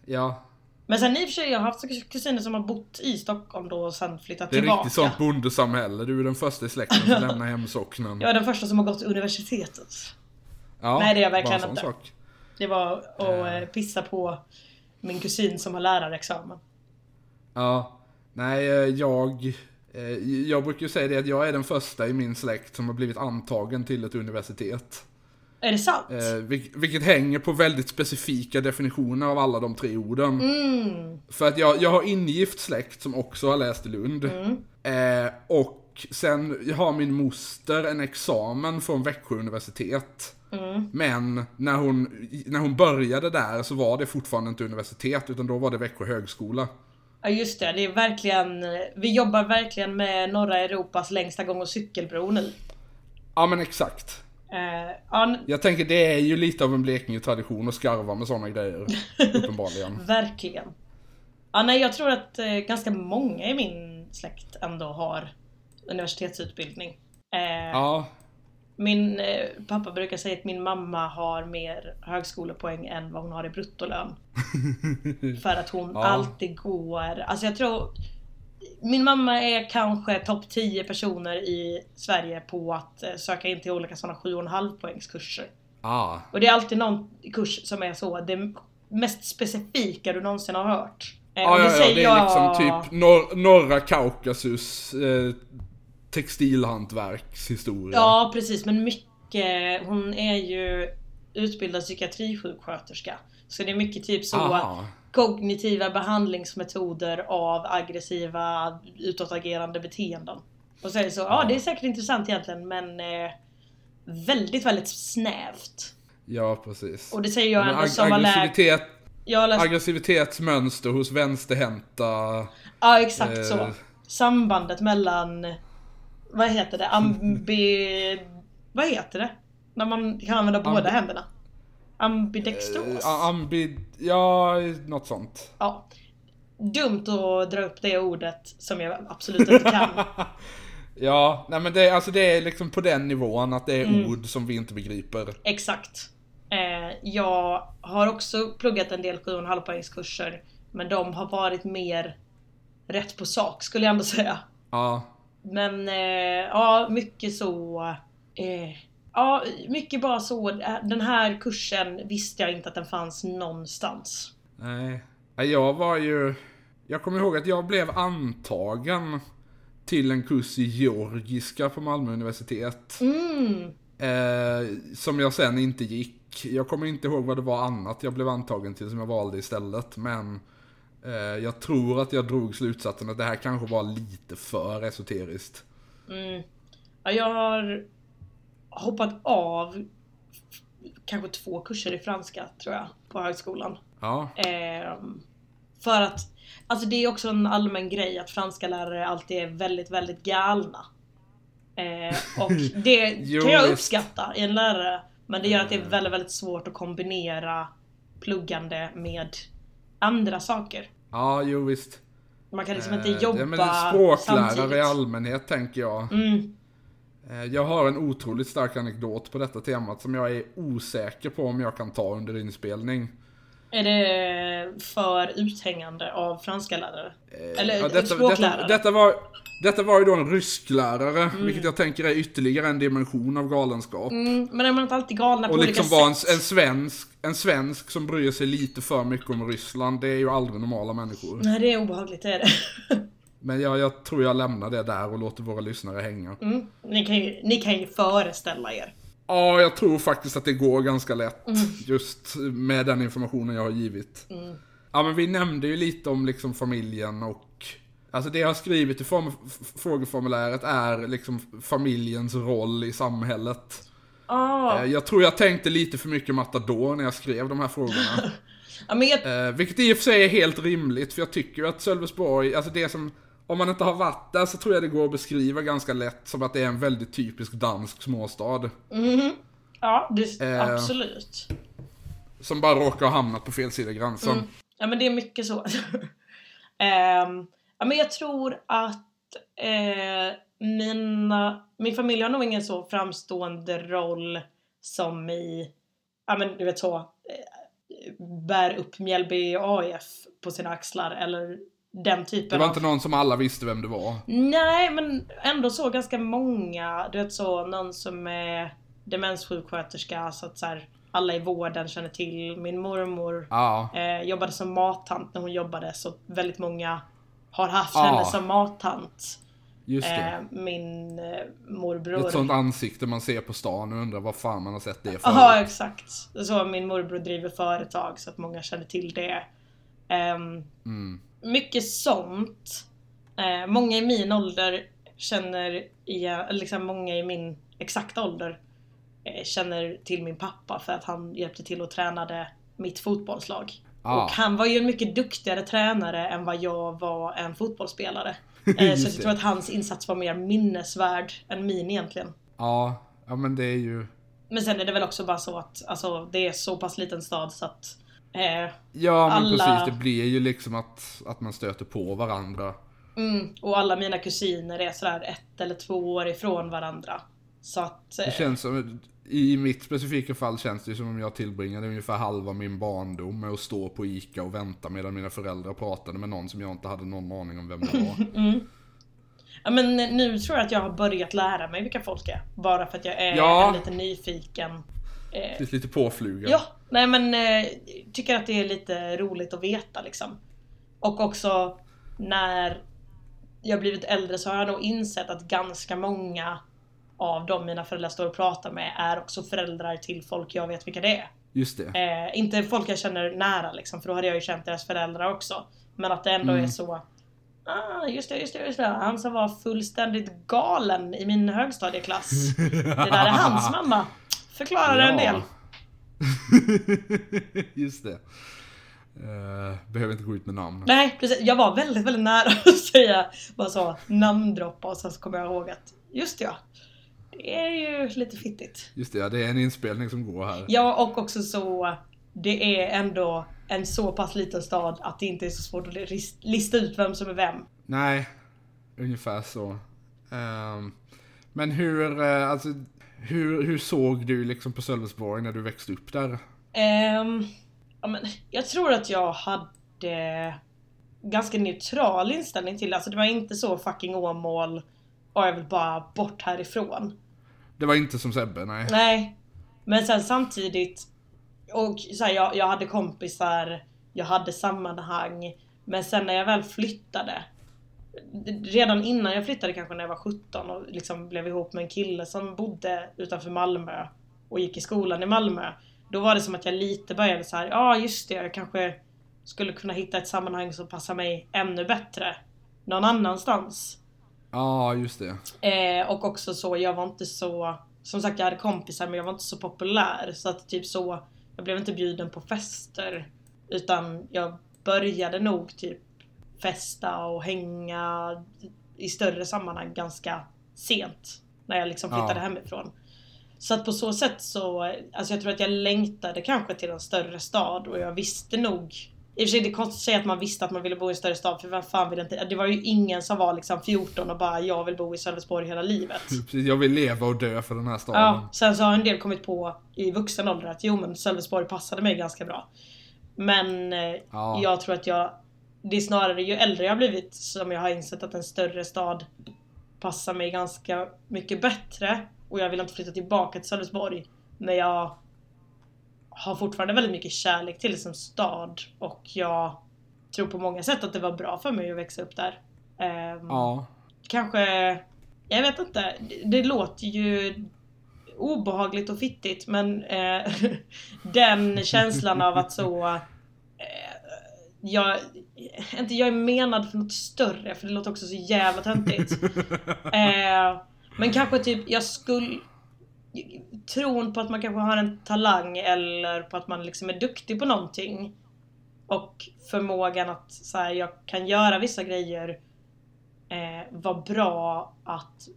Ja. Men sen i och för sig, jag har haft kusiner som har bott i Stockholm då och sen flyttat Det är tillbaka. riktigt sånt bondesamhälle. Du är den första i släkten som lämnar hemsocknen. Jag är den första som har gått universitetet. Ja, Nej, det är jag verkligen bara en inte. sån sak. Det var att eh, pissa på min kusin som har lärarexamen. Ja. Nej, eh, jag... eh, Jag brukar ju säga det att jag är den första i min släkt som har blivit antagen till ett universitet. Är det sant? Eh, vilk- vilket hänger på väldigt specifika definitioner av alla de tre orden. Mm. För att jag, jag har ingift släkt som också har läst i Lund. Mm. Eh, och sen har min moster en examen från Växjö universitet. Mm. Men när hon, när hon började där så var det fortfarande inte universitet utan då var det Växjö högskola. Ja just det, det är verkligen... Vi jobbar verkligen med norra Europas längsta gång och cykelbro nu. Ja men exakt. Eh, ja, n- Jag tänker det är ju lite av en Blekinge-tradition att skarva med sådana grejer. uppenbarligen. Verkligen. Ja, nej, jag tror att eh, ganska många i min släkt ändå har universitetsutbildning. Eh, Ja, Min eh, pappa brukar säga att min mamma har mer högskolepoäng än vad hon har i bruttolön. För att hon Ja. alltid går... Alltså jag tror... Min mamma är kanske topp 10 personer i Sverige på att eh, söka in till olika sådana 7,5 poängskurser. ah, Och det är alltid någon kurs som är så, det mest specifika du någonsin har hört. Eh, ja, och ja, ja, det är liksom jag- typ nor- norra Kaukasus eh, textilhantverkshistoria. Ja, precis. Men mycket... Hon är ju utbildad psykiatrisjuksköterska. Så det är mycket typ så Aha. kognitiva behandlingsmetoder av aggressiva utåtagerande beteenden. Och så är det så, ja det är säkert intressant egentligen men eh, väldigt, väldigt snävt. Ja, precis. Och det säger jag Men ändå ag- som har lärt... aggressivitet, Jag har läst aggressivitetsmönster hos vänsterhänta... Ja exakt Eh. så. Sambandet mellan, vad heter det, ambi... vad heter det? När man kan använda båda händerna. Ambidextros. eh, Ambid... Ja, något sånt. ja. Dumt att dra upp det ordet som jag absolut inte kan. ja, nej men det, är- alltså det är liksom på den nivån att det är Mm. ord som vi inte begriper. Exakt. Eh, jag har också pluggat en del 7,5 poängskurser men de har varit mer rätt på sak skulle jag ändå säga. Ja. Men eh, ja, mycket så... Eh, ja, mycket bara så. eh, Den här kursen visste jag inte att den fanns någonstans. Nej. Nej, Jag var ju... Jag kommer ihåg att jag blev antagen till en kurs i georgiska på Malmö universitet. Mm. Eh, som jag sen inte gick. Jag kommer inte ihåg vad det var annat jag blev antagen till som jag valde istället. Men eh, jag tror att jag drog slutsatsen att det här kanske var lite för esoteriskt. Mm. Ja, jag har hoppat av kanske två kurser i franska tror jag på högskolan. Ja, Ehm, för att alltså det är också en allmän grej att franska lärare alltid är väldigt, väldigt galna. Ehm, och det Jo, kan jag visst. Mm. uppskatta i en lärare. Men det gör att det är väldigt, väldigt svårt att kombinera pluggande med andra saker. ja jo visst. Man kan liksom inte Eh, jobba ja, men Språklärare i samtidigt. allmänhet tänker jag. Mm, Eh, Jag har en otroligt stark anekdot på detta temat som jag är osäker på om jag kan ta under inspelning. är det för uthängande av franska lärare? Eh, Eller ja, detta, språklärare? detta, detta, var, detta var ju då en rysklärare, vilket jag tänker är ytterligare en dimension av galenskap. Mm, men är man inte alltid galna på Och liksom olika vara en, sätt? en, svensk, en svensk som bryr sig lite för mycket om Ryssland, det är ju aldrig normala människor. Nej det är obehagligt, det är det. Men jag, jag tror jag lämnar det där och låter våra lyssnare hänga. Mm. Ni, kan ju, ni kan ju föreställa er. Ja, jag tror faktiskt att det går ganska lätt. Just med den informationen jag har givit. Ja, men vi nämnde ju lite om liksom familjen och... Alltså det jag har skrivit i form, f- frågeformuläret är liksom familjens roll i samhället. Ah. Eh, Jag tror jag tänkte lite för mycket matador när jag skrev de här frågorna. Ja, men jag, Eh, vilket i och för sig är helt rimligt, för jag tycker ju att Sölvesborg, alltså det som... Om man inte har varit där så tror jag det går att beskriva ganska lätt som att det är en väldigt typisk dansk småstad. mhm. ja det, Eh. absolut. Som bara råkar ha hamnat på fel sida gränsen. Ja men det är mycket så. Ehm, ja, men jag tror att eh, mina, min familj har nog ingen så framstående roll som i, ja men du vet så, eh, bär upp Mjällby AIF på sina axlar eller den typen Det var av inte någon som alla visste vem det var. Nej, men ändå så ganska många. Du vet så, någon som är demenssjuksköterska så att så här, alla i vården känner till. Min mormor Ja. eh, jobbade som mattant när hon jobbade så väldigt många har haft Ah. henne som mattant. Just det. Eh, min eh, Ett sånt morbror. ansikte man ser på stan och undrar vad fan man har sett det för. Ja, exakt. Så min morbror driver företag så att många känner till det. Ehm, Mm. mycket sånt. Eh, många i min ålder känner igen, liksom många i min exakta ålder eh, känner till min pappa för att han hjälpte till och tränade mitt fotbollslag. Ah. Och han var ju en mycket duktigare tränare än vad jag var en fotbollsspelare. Eh, så Just jag det. tror att hans insats var mer minnesvärd än min egentligen. Ja. ja, men det är ju... Men sen är det väl också bara så att alltså, det är så pass liten stad så att eh, Ja, men Alla- precis. Det blir ju liksom att, att man stöter på varandra. Mm, och alla mina kusiner är sådär ett eller två år ifrån varandra. Så att... Det Eh, känns som... I mitt specifika fall känns det ju som om jag tillbringade ungefär halva min barndom med att stå på ICA och vänta medan mina föräldrar pratade med någon som jag inte hade någon aning om vem det var. mm. ja, men nu tror jag att jag har börjat lära mig vilka folk är. Bara för att jag är Ja. en lite nyfiken. Eh, Det är lite påfluga. ja, nej men eh, tycker att det är lite roligt att veta liksom. Och också när jag blivit äldre så har jag nog insett att ganska många av de mina föräldrar står och pratar med är också föräldrar till folk jag vet vilka det är. Just det. Eh, inte folk jag känner nära liksom, för då hade jag ju känt deras föräldrar också. Men att det ändå Mm. är så... Ah, just det, just det, just det. Han som var fullständigt galen i min högstadieklass. Det där är hans mamma. Förklarar en del. Just det. Eh, behöver inte gå ut med namn. Nej, precis. Jag var väldigt, väldigt nära att säga bara så namndroppa och sen så kom jag ihåg att just det, ja. Det är ju lite fittigt. Just det, ja, det är en inspelning som går här. Ja, och också så det är ändå en så pass liten stad att det inte är så svårt att lis- lista ut vem som är vem. Nej, ungefär så. Ehm, men hur, eh, alltså, hur, hur såg du liksom på Sölvesborg när du växte upp där? Ehm, ja, men jag tror att jag hade ganska neutral inställning till det. Alltså det var inte så fucking Åmål och jag vill bara bort härifrån. Det var inte som Sebbe, nej. Nej. Men sen samtidigt och så här, jag, jag hade kompisar, jag hade sammanhang. Men sen när jag väl flyttade Redan innan jag flyttade kanske när jag var 17 och liksom blev ihop med en kille som bodde utanför Malmö och gick i skolan i Malmö. Då var det som att jag lite började så här, ja ah, just det, jag kanske skulle kunna hitta ett sammanhang som passar mig ännu bättre någon annanstans. Ja, just det. Eh, och också så, jag var inte så... Som sagt, jag hade kompisar men jag var inte så populär. Så att typ så, jag blev inte bjuden på fester. Utan jag började nog typ festa och hänga i större sammanhang ganska sent. När jag liksom flyttade Ja. hemifrån. Så att på så sätt så, alltså jag tror att jag längtade kanske till en större stad och jag visste nog i och för sig det är konstigt att säga att man visste att man ville bo i en större stad för vem fan vill inte? Det var ju ingen som var liksom 14 och bara jag vill bo i Sölvesborg hela livet. Precis, Jag vill leva och dö för den här staden. Ja, sen så har en del kommit på i vuxen ålder att jo men Sölvesborg passade mig ganska bra. Men eh, Ja. jag tror att jag Det är snarare ju äldre jag har blivit som jag har insett att en större stad passar mig ganska mycket bättre och jag vill inte flytta tillbaka till Sölvesborg. Men jag har fortfarande väldigt mycket kärlek till det som stad och jag tror på många sätt att det var bra för mig att växa upp där. Ehm, Ja. kanske... Jag vet inte. Det, det låter ju obehagligt och fittigt men eh, den känslan av att så... Eh, jag, inte jag är menad för något större för det låter också så jävla töntigt. Eh, men kanske typ jag skulle... Tron på att man kanske har en talang eller på att man liksom är duktig på någonting. Och förmågan att så här, jag kan göra vissa grejer eh, var bra att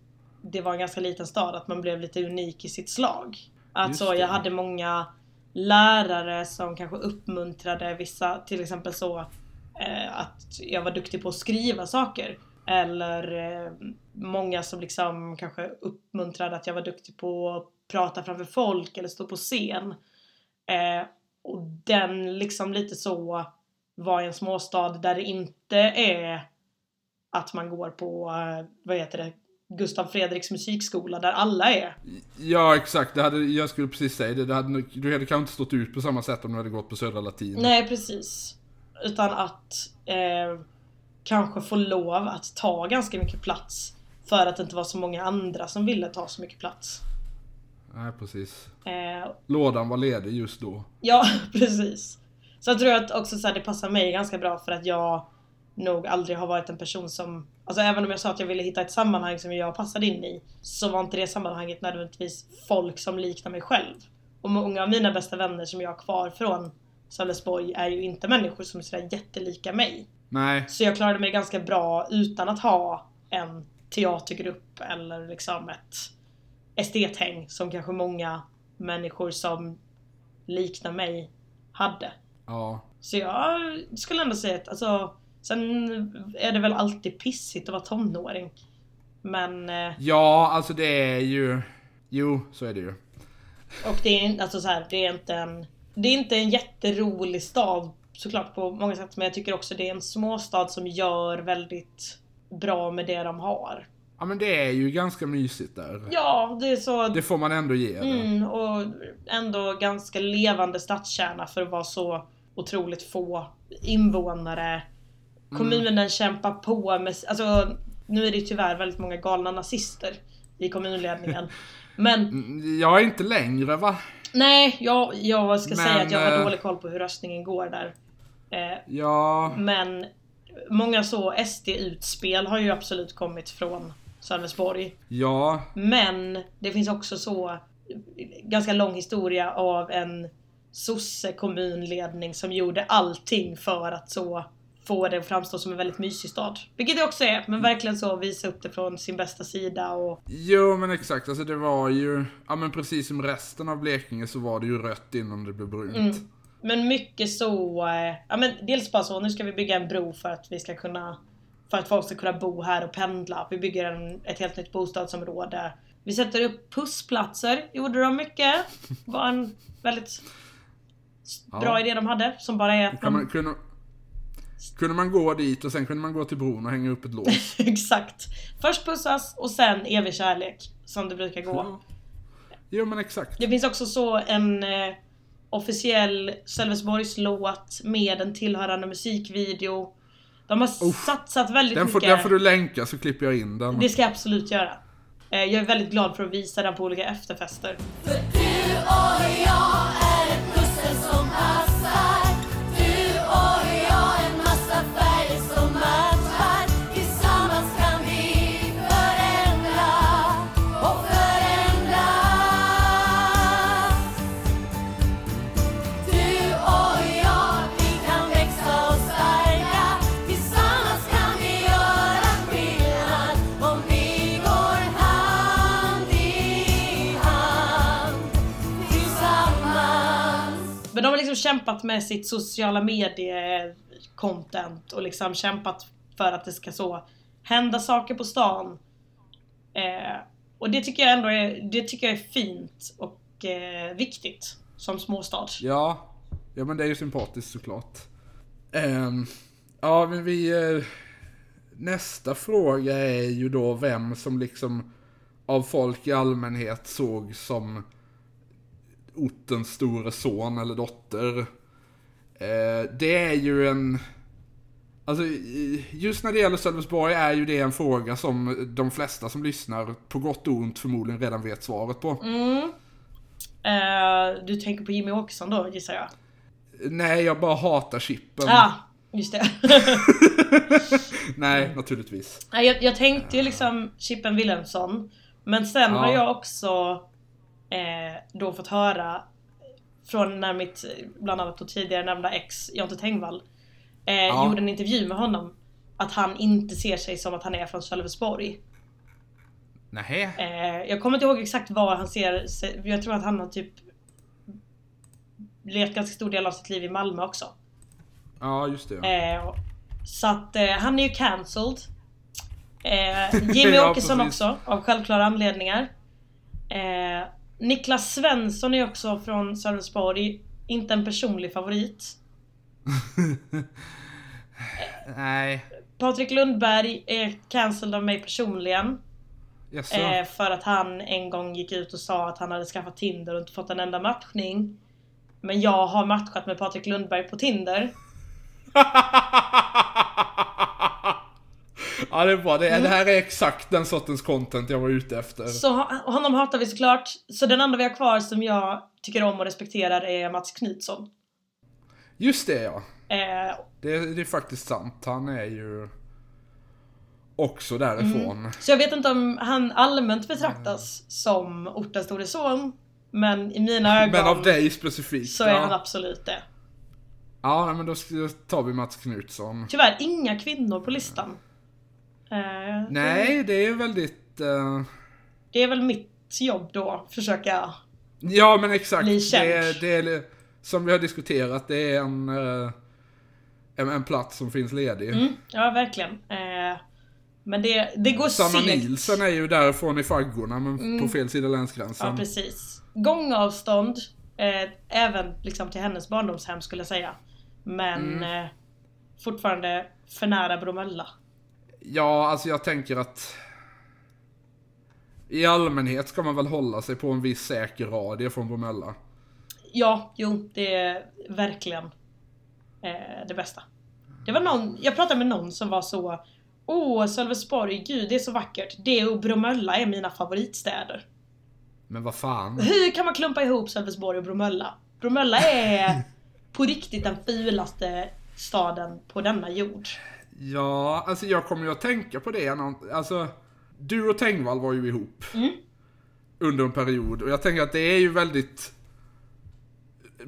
det var en ganska liten stad, att man blev lite unik i sitt slag. Alltså Just det. jag hade många lärare som kanske uppmuntrade vissa, till exempel så eh, att jag var duktig på att skriva saker. Eller eh, många som liksom kanske uppmuntrade att jag var duktig på att prata framför folk eller stå på scen. Eh, och den liksom lite så var i en småstad där det inte är att man går på, eh, vad heter det, Gustav Fredriks musikskola där alla är. ja, exakt. Det hade, jag skulle precis säga det. det hade, nog- du hade kanske inte stått ut på samma sätt om du hade gått på Södra Latin. Nej precis. Utan att eh, kanske få lov att ta ganska mycket plats. För att det inte var så många andra som ville ta så mycket plats. Nej, precis. Eh, Lådan var ledig just då. ja precis. Så jag tror att också så här, det passar mig ganska bra för att jag nog aldrig har varit en person som Alltså även om jag sa att jag ville hitta ett sammanhang som jag passade in i Så var inte det sammanhanget nödvändigtvis folk som liknar mig själv Och många av mina bästa vänner som jag har kvar från Sölvesborg är ju inte människor som är sådär jättelika mig Nej, Så jag klarade mig ganska bra utan att ha en teatergrupp eller liksom ett estethäng som kanske många människor som liknar mig hade. ja. Så jag skulle ändå säga att alltså, sen är det väl alltid pissigt att vara tonåring. Men, eh, Ja, alltså det är ju... Jo, så är det ju. och det är, in- alltså så här, det är inte en, det är inte en jätterolig stad såklart på många sätt. Men jag tycker också det är en småstad som gör väldigt bra med det de har. Ja, men det är ju ganska mysigt där. Ja, det är så. Det får man ändå ge det. Mm, och ändå ganska levande stadskärna för att vara så otroligt få invånare. Mm. Kommunen kämpar på med, alltså nu är det ju tyvärr väldigt många galna nazister i kommunledningen. Mm. Men Jag är inte längre, va? nej, jag, jag ska Men, säga att jag har eh, dålig koll på hur röstningen går där. Eh, Ja... men många så SD-utspel har ju absolut kommit från Sölvesborg. Ja, Men det finns också så ganska lång historia av en sosse-kommunledning som gjorde allting för att så få det att framstå som en väldigt mysig stad. Vilket det också är, men verkligen så visa upp det från sin bästa sida och Jo men exakt, alltså det var ju, ja men precis som resten av Blekinge så var det ju rött innan det blev Mm. brunt. men mycket så, eh, ja men dels bara så, nu ska vi bygga en bro för att vi ska kunna, för att folk ska kunna bo här och pendla. Vi bygger en, ett helt nytt bostadsområde. Vi sätter upp pussplatser, gjorde de mycket. Var en väldigt s- Ja. bra idé de hade, som bara är att Kan man, man, kunde, Kunde man gå dit och sen kunde man gå till bron och hänga upp ett lås. Exakt. Först pussas och sen evig kärlek. Som det brukar gå. Ja. Jo men exakt. Det finns också så en eh, officiell Sölvesborgslåt med en tillhörande musikvideo. De har satsat väldigt Den får, mycket. den får du länka så klipper jag in den. Det ska jag absolut göra. Eh, jag är väldigt glad för att visa den på olika efterfester. För du och jag är ett pussel som passar Du och jag en massa färger som matchar Tillsammans kan vi förändra och förändra du och jag, vi kan växa och starka Tillsammans kan vi göra skillnad Om vi går hand i hand Tillsammans Men de har liksom kämpat med sitt sociala medie-content och liksom kämpat för att det ska så hända saker på stan. Eh, och det tycker jag ändå är, det tycker jag är fint och eh, viktigt som småstad. Ja. Ja men det är ju sympatiskt såklart. Ehm, ja men vi... eh, nästa fråga är ju då vem som liksom av folk i allmänhet såg som ortens store son eller dotter. Eh, det är ju en... Alltså, i- just när det gäller Sölvesborg är ju det en fråga som de flesta som lyssnar på gott och ont förmodligen redan vet svaret på. Mm. Eh, du tänker på Jimmy Åkesson då gissar Mm. jag? Nej, jag bara hatar chippen. Ja, ah, just det. Nej, naturligtvis. Nej, jag, jag tänkte ju liksom Chippen Wilhelmsson. Men sen Ja. har jag också eh, då fått höra från när mitt, bland annat då tidigare nämnda ex, Jonte Tengvall, eh, Ja. gjorde en intervju med honom. Att han inte ser sig som att han är från Sölvesborg. Nej. Eh, jag kommer inte ihåg exakt var han ser sig, jag tror att han har typ levt ganska stor del av sitt liv i Malmö också. Ja, just det. Eh, så att eh, han är ju cancelled. Eh, Jimmy Ja, Åkesson precis. också, av självklara anledningar. Eh, Niklas Svensson är också från Sölvesborg. Inte en personlig favorit. Nej. Patrik Lundberg är cancelled av mig personligen. Jaså? Eh, för att han en gång gick ut och sa att han hade skaffat Tinder och inte fått en enda matchning. Men jag har matchat med Patrik Lundberg på Tinder. ja, det är bra. Det, det här är exakt den sortens content jag var ute efter. Så ho- honom hatar vi såklart. Så den enda vi har kvar som jag tycker om och respekterar är Mats Knutsson. Just det, ja. Eh, Det, det är faktiskt sant. Han är ju också därifrån. så jag vet inte om han allmänt betraktas som ortens store son. Men i mina ögon Men av dig specifikt. så är ja. han absolut det. Ja, nej, men då ska- då tar vi Mats Knutsson. Tyvärr inga kvinnor på listan. Eh, Nej, det är väldigt... eh, Det är väl mitt jobb då, försöka... Ja men exakt. Bli känd. Det, är- det är, som vi har diskuterat, det är en, eh, en, en plats som finns ledig. Mm, ja, verkligen. Eh, men det, det går Sanna segt. Mm. Nielsen är ju därifrån i faggorna men på fel sida länsgränsen. Ja precis. Gångavstånd, eh, även liksom till hennes barndomshem skulle jag säga. Men eh, fortfarande för nära Bromölla. Ja, alltså jag tänker att i allmänhet ska man väl hålla sig på en viss säker radie från Bromölla. Ja, jo, det är verkligen eh, det bästa. Det var någon, jag pratade med någon som var så Åh, Sölvesborg, gud det är så vackert. Det och Bromölla är mina favoritstäder. Men vad fan. Hur kan man klumpa ihop Sölvesborg och Bromölla? Bromölla är på riktigt den fulaste staden på denna jord. Ja, alltså jag kommer ju att tänka på det. någon- Alltså, du och Tengvall var ju ihop. Under en period. Och jag tänker att det är ju väldigt...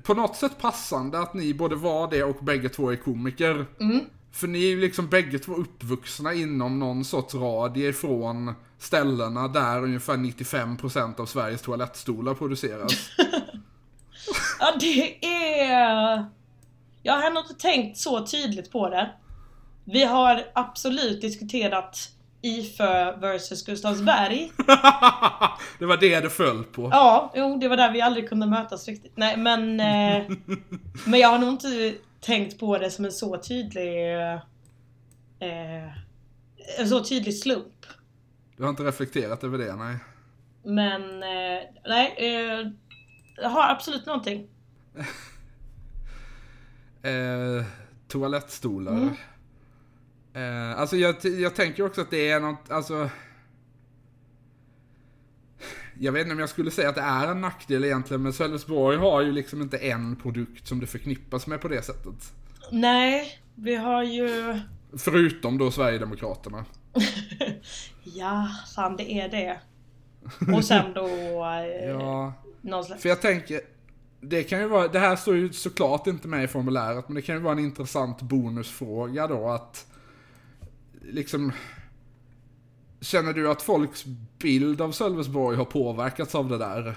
På något sätt passande att ni både var det och bägge två är komiker. Mm. För ni är ju liksom bägge två uppvuxna inom någon sorts radie ifrån ställena där ungefär 95% av Sveriges toalettstolar produceras. Ja det är... Jag har nog inte tänkt så tydligt på det. Vi har absolut diskuterat Ifö versus Gustavsberg. det var det det föll på. Ja, jo det var där vi aldrig kunde mötas riktigt. Nej men... Eh, men jag har nog inte tänkt på det som en så tydlig eh, en så tydlig slump. Du har inte reflekterat över det, nej. Men eh, nej, eh, jag har absolut någonting. Eh, toalettstolar. Eh, alltså jag, t- jag tänker också att det är något, alltså... Jag vet inte om jag skulle säga att det är en nackdel egentligen, men Sölvesborg har ju liksom inte en produkt som det förknippas med på det sättet. Nej, vi har ju... Förutom då Sverigedemokraterna. ja, fan det är det. Och sen då... Eh, Ja, någon slags... för jag tänker... Det kan ju vara, det här står ju såklart inte med i formuläret, men det kan ju vara en intressant bonusfråga då att... Liksom... Känner du att folks bild av Sölvesborg har påverkats av det där?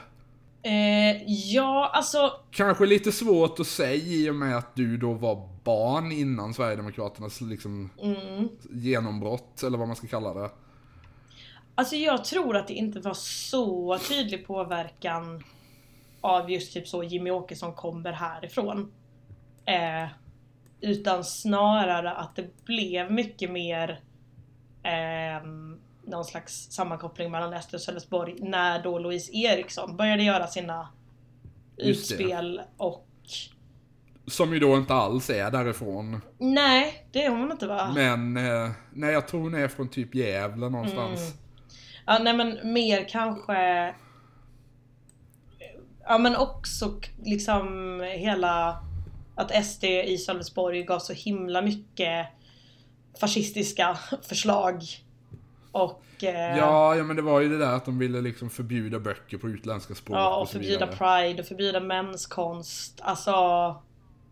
Eh, ja, alltså... Kanske lite svårt att säga i och med att du då var barn innan Sverigedemokraternas liksom Mm. genombrott, eller vad man ska kalla det. Alltså jag tror att det inte var så tydlig påverkan av just typ så Jimmy Åkesson kommer härifrån. Eh, utan snarare att det blev mycket mer ehm, någon slags sammankoppling mellan Ester och Sölvesborg när då Louise Eriksson började göra sina Just det. utspel och Som ju då inte alls är därifrån. Nej, det är hon inte va? Men, eh, nej jag tror hon är från typ Gävle någonstans. Ja, nej men mer kanske... Ja men också k- liksom hela... Att SD i Sölvesborg gav så himla mycket fascistiska förslag. Och... eh, Ja, ja men det var ju det där att de ville liksom förbjuda böcker på utländska språk ja, och så förbjuda vidare. pride och förbjuda mänskonst. Alltså...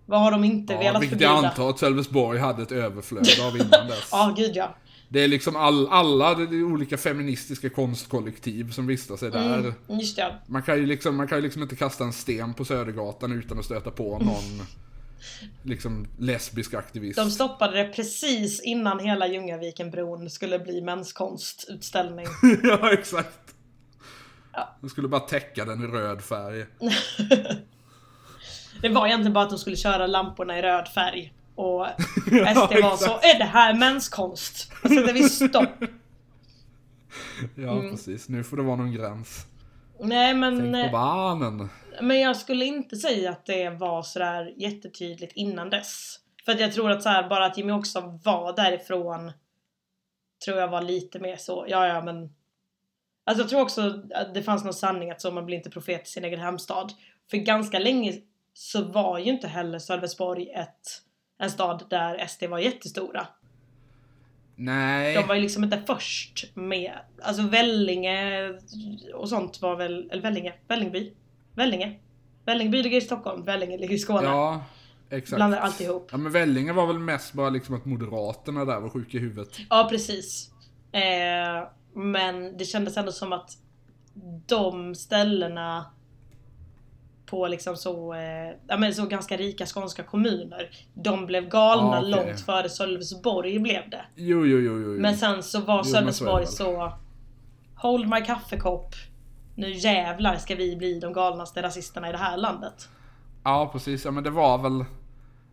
Vad har de inte ja, velat vilket förbjuda? jag antar att Sölvesborg hade ett överflöd av innan dess. Ja, gud ja. Det är liksom all, alla det är olika feministiska konstkollektiv som vistas sig där. Mm, just det. Man, kan ju liksom, man kan ju liksom inte kasta en sten på Södergatan utan att stöta på någon liksom lesbisk aktivist. De stoppade det precis innan hela Ljungavikenbron skulle bli mänskonstutställning. ja, exakt. Ja. De skulle bara täcka den i röd färg. Det var egentligen bara att de skulle köra lamporna i röd färg. Och SD Ja, var exakt. så, är det här mänskonst? Och sätter vi stopp. Mm. Ja, precis. Nu får det vara någon gräns. Nej men, eh, Tänk på barnen. men jag skulle inte säga att det var sådär jättetydligt innan dess. För att jag tror att så här, bara att Jimmy också var därifrån tror jag var lite mer så, ja ja men. Alltså jag tror också att det fanns någon sanning att så man blir inte profet i sin egen hemstad. För ganska länge så var ju inte heller Sölvesborg ett, en stad där SD var jättestora. Nej. De var ju liksom inte först med, alltså Vellinge och sånt var väl, eller Vellinge, Vällingby, Vellinge. Vällingby ligger i Stockholm, Vellinge ligger i Skåne. Ja, exakt. Blandar alltihop. Ja, men Vellinge var väl mest bara liksom att Moderaterna där var sjuka i huvudet. Ja, precis. Eh, men det kändes ändå som att de ställena på liksom så, eh, ja, men så ganska rika skånska kommuner, de blev galna Ah, okej. långt före Sölvesborg blev det. Jo, jo, jo, jo. jo. Men sen så var Mm. Jo, men så är det Sölvesborg väl. så Hold my kaffekopp Nu jävlar ska vi bli de galnaste rasisterna i det här landet Ja, precis. Ja, men det var väl...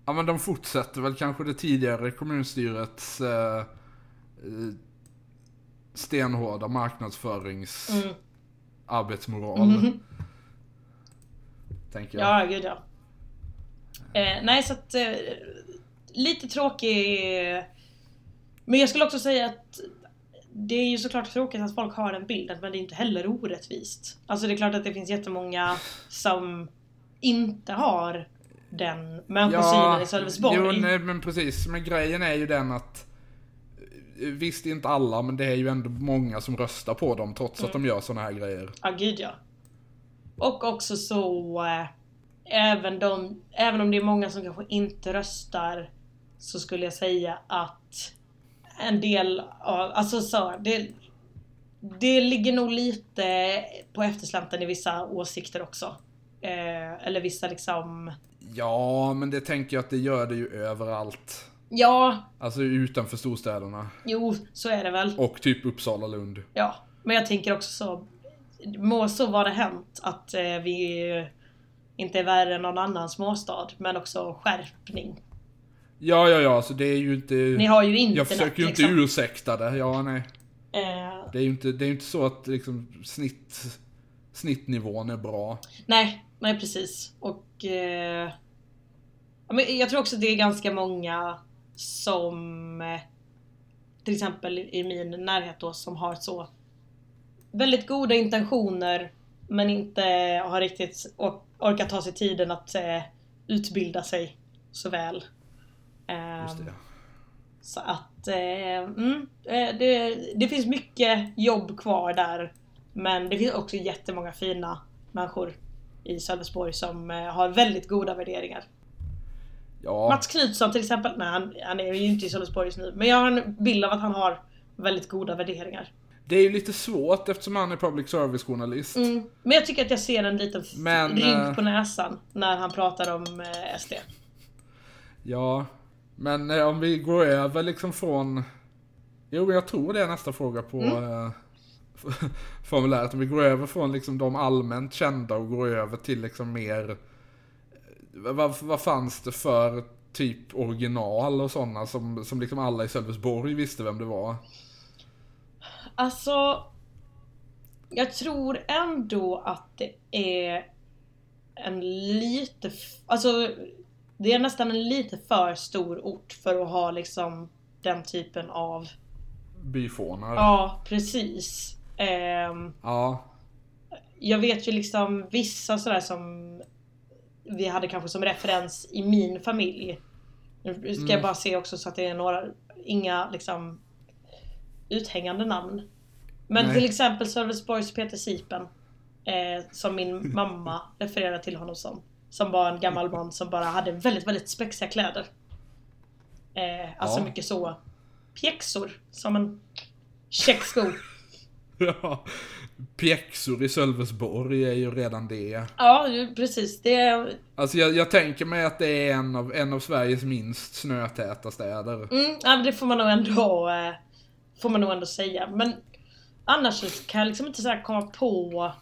Ja, men de fortsätter väl kanske det tidigare kommunstyrets eh, eh, stenhårda marknadsförings... Mm. Arbetsmoral. Mhm. Tänker jag. Ja, gud ja eh, Nej så att eh, Lite tråkig Men jag skulle också säga att Det är ju såklart tråkigt att folk har den bilden men det är inte heller orättvist Alltså det är klart att det finns jättemånga som inte har den människosynen i Sölvesborg Jo, nej, men precis. Men grejen är ju den att eh, Visst, inte alla, men det är ju ändå många som röstar på dem trots att de Mm. gör såna här grejer. Ja, gud ja. Och också så... Eh, även, de, även om det är många som kanske inte röstar så skulle jag säga att en del av... Alltså så, det, det ligger nog lite på efterslänten i vissa åsikter också. Eh, eller vissa liksom... Ja, men det tänker jag att det gör det ju överallt. Ja, Alltså utanför storstäderna. jo, så är det väl. Och typ Uppsala, Lund. Ja, men jag tänker också så. Må så vara hänt att eh, vi inte är värre än någon annan småstad, men också skärpning Ja, ja, ja, alltså det är ju inte... Ni har ju internet Mm. jag försöker ju inte liksom. ursäkta det. Ja, nej. Eh, Det är ju inte, det är ju inte så att liksom snitt, snittnivån är bra. Nej, nej precis. Och eh, ja, men jag tror också det är ganska många som eh, till exempel i min närhet då som har så väldigt goda intentioner men inte har riktigt or- orkat ta sig tiden att eh, utbilda sig så väl. Eh, Just det. Så att eh, mm, eh, det, det finns mycket jobb kvar där. Men det finns också jättemånga fina människor i Sölvesborg som eh, har väldigt goda värderingar. Ja. Mats Knutsson till exempel, nej han, han är ju inte i Sölvesborg just nu, men jag har en bild av att han har väldigt goda värderingar. Det är ju lite svårt eftersom han är public service-journalist. Mm. Men jag tycker att jag ser en liten f- Men, eh, rynk på näsan när han pratar om eh, SD. Ja. Men eh, om vi går över liksom från... Jo, men jag tror det är nästa fråga på eh, formuläret. Om vi går över från liksom de allmänt kända och går över till liksom mer... Vad, vad fanns det för typ original och sådana som, som liksom alla i Sölvesborg visste vem det var? Alltså, jag tror ändå att det är en lite, f- alltså det är nästan en lite för stor ort för att ha liksom den typen av, Byfånar. ja precis. Ehm, ja. jag vet ju liksom vissa sådär som vi hade kanske som referens i min familj. Nu ska Mm. jag bara se också så att det är några, inga liksom uthängande namn. Men Nej. till exempel Sölvesborgs Peter Sipen. Eh, som min mamma refererar till honom som. Som var en gammal man som bara hade väldigt, väldigt spexiga kläder. Eh, alltså Ja. mycket så pjäxor. Som en checksko. Ja, pjäxor i Sölvesborg är ju redan det. Ja, ju- precis. Det, Alltså jag, jag tänker mig att det är en av, en av Sveriges minst snötäta städer. Mm, ja, men det får man nog ändå, eh, får man nog ändå säga. Men annars så kan jag liksom inte så här komma på...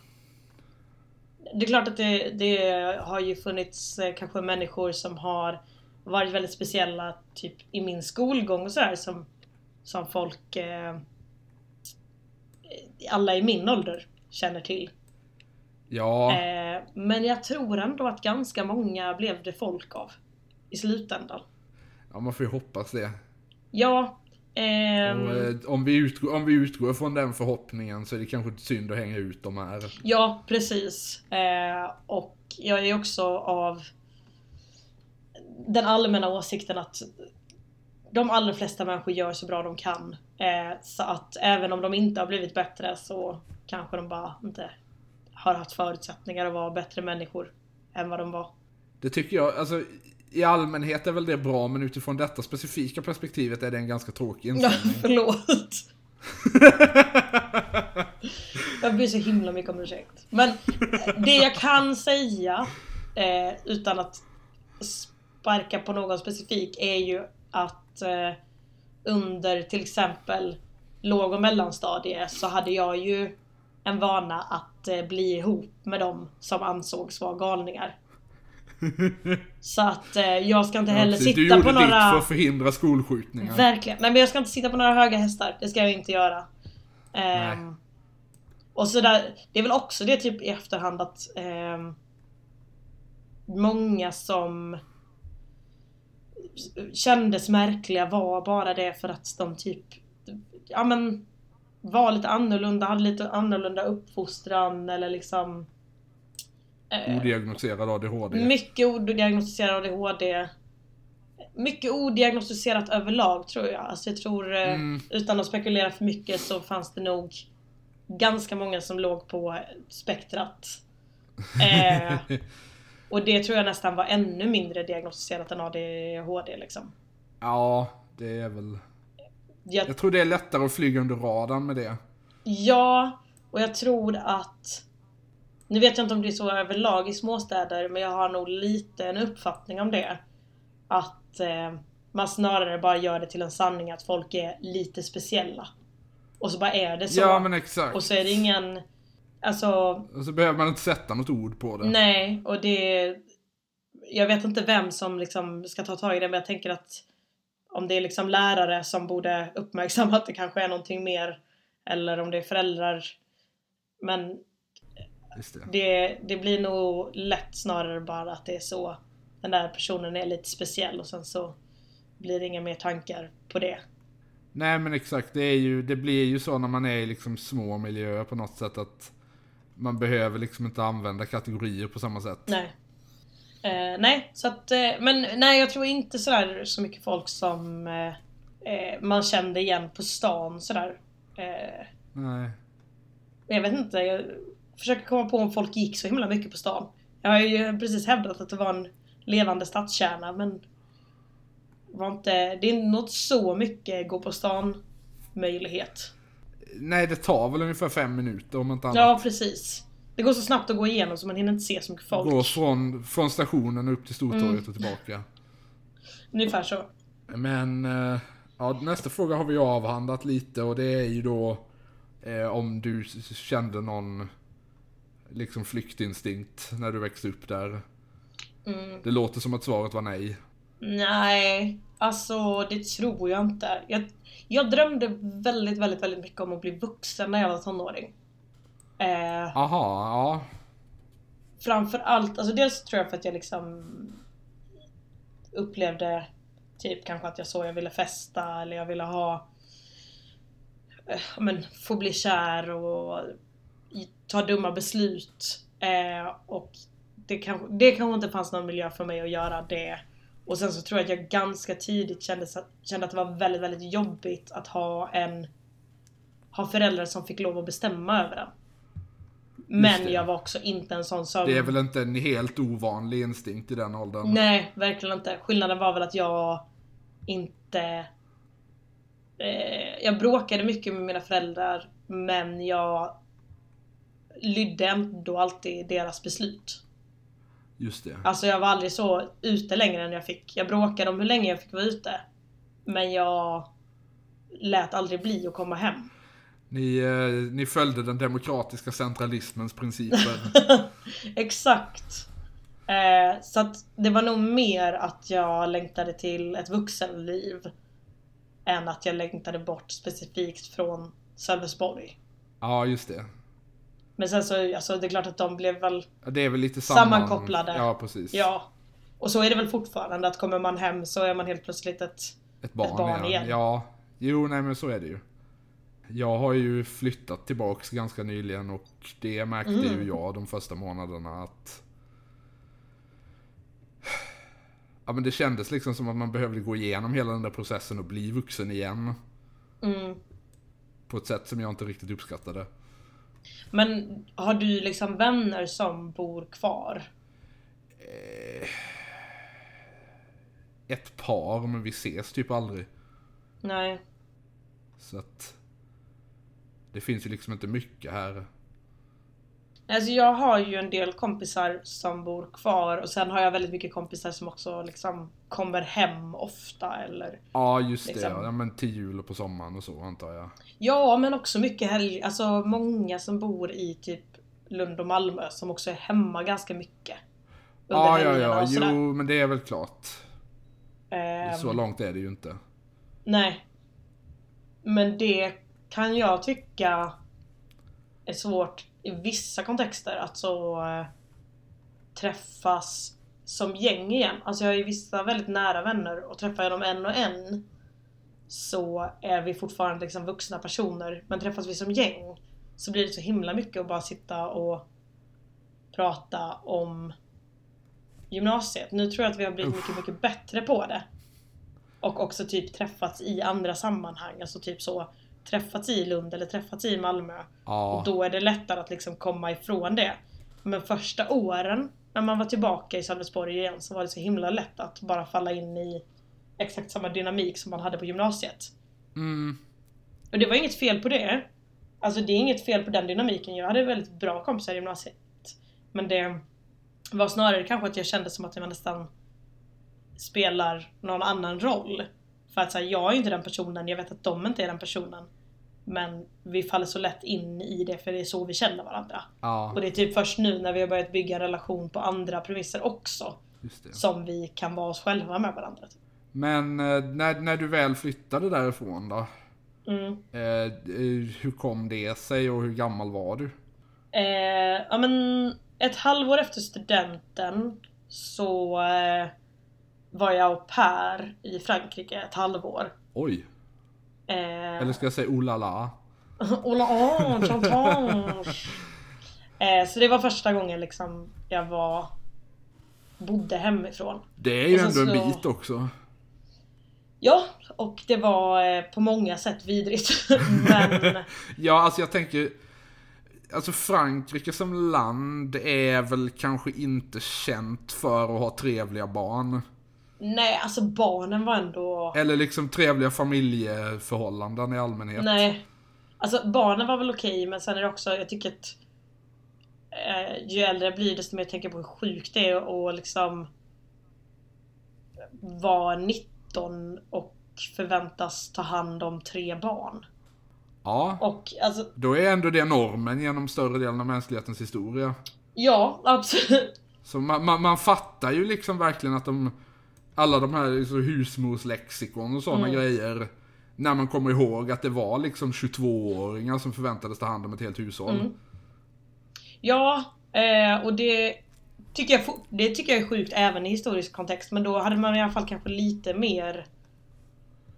Det är klart att det, det har ju funnits eh, kanske människor som har varit väldigt speciella typ i min skolgång och sådär som, som folk eh, alla i min ålder känner till. Ja, Eh, men jag tror ändå att ganska många blev det folk av i slutändan. ja, man får ju hoppas det. Ja. ehm, Och, eh, om, vi utgår, om vi utgår från den förhoppningen så är det kanske synd att hänga ut de här. Ja, precis. Eh, och jag är också av den allmänna åsikten att de allra flesta människor gör så bra de kan. Eh, så att även om de inte har blivit bättre så kanske de bara inte har haft förutsättningar att vara bättre människor än vad de var. Det tycker jag, alltså i allmänhet är väl det bra men utifrån detta specifika perspektivet är det en ganska tråkig Ja, inställning. förlåt. Jag ber så himla mycket om ursäkt. Men eh, det jag kan säga, eh, utan att sparka på någon specifik, är ju att eh, under till exempel låg och mellanstadie så hade jag ju en vana att eh, bli ihop med dem som ansågs vara galningar. Så att eh, jag ska inte Ja, heller precis. du sitta gjorde på några... ditt för att förhindra skolskjutningar. Verkligen. Nej men jag ska inte sitta på några höga hästar. Det ska jag inte göra. Ehm, Nej. och så där, det är väl också det typ i efterhand att ehm, många som kändes märkliga var bara det för att de typ, ja men var lite annorlunda, hade lite annorlunda uppfostran eller liksom eh, Odiagnostiserad ADHD. mycket odiagnostiserad ADHD. Mycket odiagnostiserat överlag tror jag. Alltså jag tror, eh, Mm. utan att spekulera för mycket så fanns det nog ganska många som låg på spektrat. Eh, och det tror jag nästan var ännu mindre diagnostiserat än ADHD liksom. ja, det är väl... Jag, Jag tror det är lättare att flyga under radarn med det. ja, och jag tror att nu vet jag inte om det är så överlag i småstäder men jag har nog lite en uppfattning om det. Att eh, man snarare bara gör det till en sanning att folk är lite speciella. Och så bara är det så. Ja men exakt. och så är det ingen... Alltså, Och så behöver man inte sätta något ord på det. nej. Och det... jag vet inte vem som liksom ska ta tag i det men jag tänker att om det är liksom lärare som borde uppmärksamma att det kanske är någonting mer eller om det är föräldrar. Men Just det. det, det blir nog lätt snarare bara att det är så den där personen är lite speciell och sen så blir det inga mer tankar på det. Nej men exakt, det, är ju, det blir ju så när man är i liksom små miljöer på något sätt att man behöver liksom inte använda kategorier på samma sätt. Nej. Eh, nej, så att, eh, men nej jag tror inte sådär så mycket folk som eh, eh, man kände igen på stan sådär. Eh, Nej. jag vet inte, jag försöker komma på om folk gick så himla mycket på stan. Jag har ju precis hävdat att det var en levande stadskärna men det var inte, det är något så mycket gå på stan möjlighet. Nej, det tar väl ungefär fem minuter om inte annat. Ja precis. Det går så snabbt att gå igenom så man hinner inte se så mycket folk. Gå från, från stationen upp till Stortorget och tillbaka. Ungefär så. Men eh, ja, nästa fråga har vi avhandlat lite och det är ju då eh, om du s- s- kände någon liksom flyktinstinkt när du växte upp där. Mm. Det låter som att svaret var nej. Nej, alltså det tror jag inte. Jag, jag drömde väldigt, väldigt, väldigt mycket om att bli vuxen när jag var tonåring. Eh, Aha, ja. framför allt, alltså dels tror jag för att jag liksom upplevde typ kanske att jag såg jag ville festa eller jag ville ha eh, ja, men få bli kär och i- ta dumma beslut. Eh, och det kanske, det kanske inte fanns någon miljö för mig att göra det. Och sen så tror jag att jag ganska tidigt kände, så- kände att det var väldigt, väldigt jobbigt att ha en ha föräldrar som fick lov att bestämma över en. det. Men jag var också inte en sån som... Det är väl inte en helt ovanlig instinkt i den åldern. Nej, verkligen inte. Skillnaden var väl att jag inte... Eh, jag bråkade mycket med mina föräldrar men jag lydde ändå alltid deras beslut. Just det. Alltså jag var aldrig så ute längre än jag fick. Jag bråkade om hur länge jag fick vara ute. Men jag lät aldrig bli att komma hem. Ni, eh, ni följde den demokratiska centralismens principer. Exakt. Eh, så att det var nog mer att jag längtade till ett vuxenliv än att jag längtade bort specifikt från Sölvesborg. ja, just det. Men sen så, alltså det är klart att de blev väl, Ja, Det är väl lite Sammankopplade. Ja, precis. ja. Och så är det väl fortfarande att kommer man hem så är man helt plötsligt ett, Ett barn, Ett barn igen. igen. Ja, jo nej men så är det ju. Jag har ju flyttat tillbaks ganska nyligen och det märkte ju Mm. jag de första månaderna att... Ja men det kändes liksom som att man behövde gå igenom hela den där processen och bli vuxen igen. mm. På ett sätt som jag inte riktigt uppskattade. Men har du liksom vänner som bor kvar? Ett par, men vi ses typ aldrig. Nej. Så att... Det finns ju liksom inte mycket här. Alltså jag har ju en del kompisar som bor kvar och sen har jag väldigt mycket kompisar som också liksom kommer hem ofta eller Ja just det, Liksom. ja men till jul och på sommaren och så antar jag. Ja, men också mycket helg. Alltså många som bor i typ Lund och Malmö som också är hemma ganska mycket. Under Ja, ja, helgerna ja, och sådär. jo men det är väl klart. Ehm, Så långt är det ju inte. Nej. Men det kan jag tycka är svårt i vissa kontexter att så eh, träffas som gäng igen. Alltså jag har ju vissa väldigt nära vänner och träffar jag dem en och en så är vi fortfarande liksom vuxna personer men träffas vi som gäng så blir det så himla mycket att bara sitta och prata om gymnasiet. Nu tror jag att vi har blivit Uff. mycket, mycket bättre på det. Och också typ träffats i andra sammanhang, alltså typ så träffats i Lund eller träffats i Malmö. Ja, Och då är det lättare att liksom komma ifrån det. Men första åren när man var tillbaka i Sölvesborg igen så var det så himla lätt att bara falla in i exakt samma dynamik som man hade på gymnasiet. mm, Och det var inget fel på det. Alltså det är inget fel på den dynamiken. Jag hade väldigt bra kompisar i gymnasiet. Men det var snarare kanske att jag kände som att jag nästan spelar någon annan roll. För att så här, jag är inte den personen, jag vet att de inte är den personen. Men vi faller så lätt in i det för det är så vi känner varandra. ja Och det är typ först nu när vi har börjat bygga en relation på andra premisser också Just det. som vi kan vara oss själva med varandra. Typ. Men eh, när, när du väl flyttade därifrån då? Mm. Eh, eh, hur kom det sig och hur gammal var du? Eh, ja men ett halvår efter studenten så eh, var jag au pair i Frankrike ett halvår. Oj! Eh, Eller ska jag säga oh la la? Ola Ange, Antange. eh, Så det var första gången liksom jag var bodde hemifrån. Det är ju Och ändå sen en så- bit också. Ja, och det var eh, på många sätt vidrigt. Men Ja, alltså jag tänker... Alltså Frankrike som land är väl kanske inte känt för att ha trevliga barn. nej, alltså barnen var ändå... Eller liksom trevliga familjeförhållanden i allmänhet. Nej. Alltså barnen var väl okej men sen är det också, jag tycker att eh, ju äldre jag blir desto mer tänker jag på hur sjukt det är och liksom vara 19 och förväntas ta hand om tre barn. Ja, Och alltså, då är ändå det normen genom större delen av mänsklighetens historia. ja absolut. Så man, man, man fattar ju liksom verkligen att de... Alla de här liksom, husmorslexikon och Mm. sådana grejer. När man kommer ihåg att det var liksom 22-åringar som förväntades ta hand om ett helt hushåll. Mm. Ja, eh, och det tycker, jag, fo- det tycker jag är sjukt även i historisk kontext men då hade man i alla fall kanske lite mer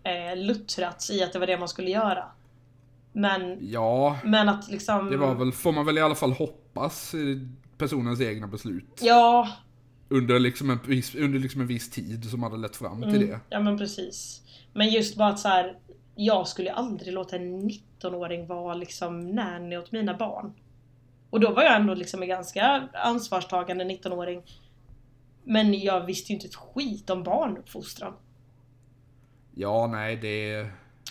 eh, luttrats i att det var det man skulle göra. Men Ja, Men att liksom... Det var väl, får man väl i alla fall hoppas, eh, personens egna beslut. Ja, Under liksom en viss, under liksom en viss tid som hade lett fram till det. ja men precis. Men just bara att så här, jag skulle aldrig låta en 19-åring vara liksom nanny åt mina barn. Och då var jag ändå liksom en ganska ansvarstagande 19-åring. Men jag visste ju inte ett skit om barnuppfostran. Ja, nej, det...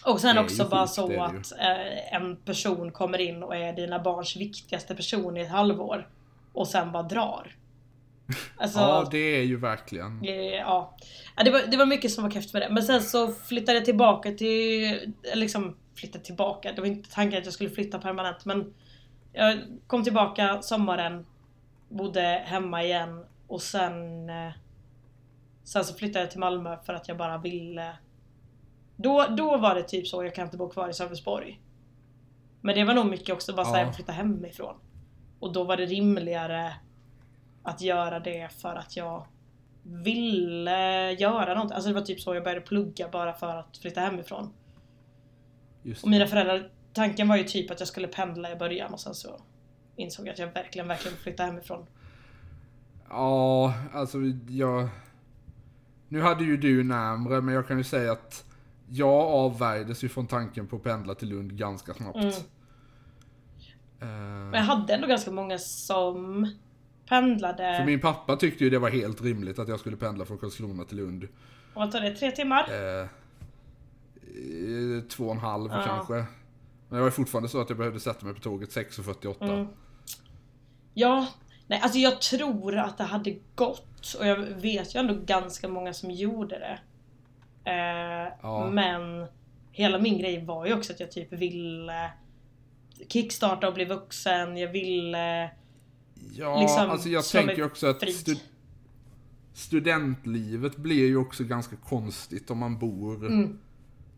Och sen Det är också ju bara sjukt, det så är det ju. att eh, en person kommer in och är dina barns viktigaste person i ett halvår. Och sen bara drar. Alltså, Ja, det är ju verkligen... Eh, Ja, Ja, det var, det var mycket som var kräft med det. Men sen så flyttade jag tillbaka till, liksom flyttade tillbaka, det var inte tanken att jag skulle flytta permanent men jag kom tillbaka sommaren, bodde hemma igen och sen eh, sen så flyttade jag till Malmö för att jag bara ville då, då var det typ så, jag kan inte bo kvar i Sölvesborg. Men det var nog mycket också bara såhär, Ja. jag flytta hemifrån. Och då var det rimligare att göra det för att jag ville göra något. Alltså det var typ så jag började plugga bara för att flytta hemifrån. Just Och mina föräldrar, tanken var ju typ att jag skulle pendla i början och sen så insåg jag att jag verkligen, verkligen vill flytta hemifrån. Ja, alltså jag... Nu hade ju du närmre, men jag kan ju säga att jag avvärjdes ju från tanken på att pendla till Lund ganska snabbt. Mm. Eh, Men jag hade ändå ganska många som pendlade. för min pappa tyckte ju det var helt rimligt att jag skulle pendla från Karlskrona till Lund. Och vad tar det? Tre timmar? Eh, eh, två och en halv Ja. kanske. Men det var fortfarande så att jag behövde sätta mig på tåget 6.48. Mm. Ja. Nej, alltså jag tror att det hade gått och jag vet ju ändå ganska många som gjorde det. Eh, Ja. Men hela min grej var ju också att jag typ ville kickstarta och bli vuxen. Jag ville... Ja, Liksom, alltså jag som tänker ett ju också att frik. stu- studentlivet blir ju också ganska konstigt om man bor Mm.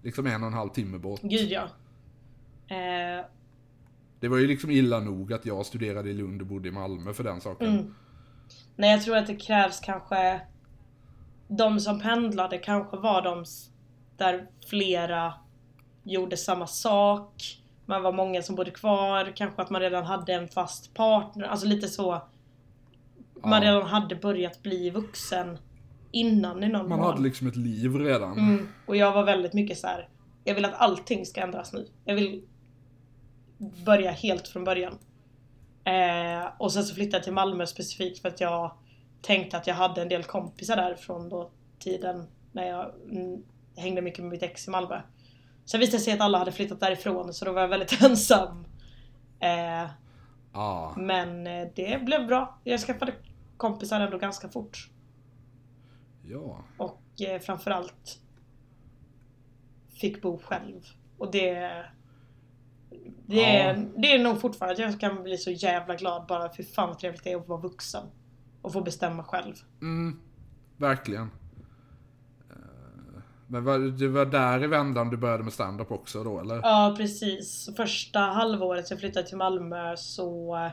liksom en och en halv timme bort. Gud ja. Eh, Det var ju liksom illa nog att jag studerade i Lund och bodde i Malmö för den saken. Mm. Nej jag tror att det krävs kanske De som pendlade kanske var de s- där flera gjorde samma sak Man var många som bodde kvar, kanske att man redan hade en fast partner, alltså lite så Man Ja. redan hade börjat bli vuxen Innan i någon Man mån. hade liksom ett liv redan. mm. Och jag var väldigt mycket så här. Jag vill att allting ska ändras nu Jag vill Börja helt från början Eh, och sen så flyttade jag till Malmö specifikt för att jag tänkte att jag hade en del kompisar där från då tiden när jag mm, hängde mycket med mitt ex i Malmö. Sen visade det sig att alla hade flyttat därifrån så då var jag väldigt ensam. Eh, Ja. men eh, det blev bra. Jag skaffade kompisar ändå ganska fort. ja. Och eh, framförallt fick bo själv. Och det... Det, Ja. är, det är nog fortfarande, jag kan bli så jävla glad bara för fan vad trevligt det är att vara vuxen. Och få bestämma själv. Mm. Verkligen. Eh, Men var, det var där i vändan du började med stand-up också då eller? Ja precis. Första halvåret jag flyttade till Malmö så eh,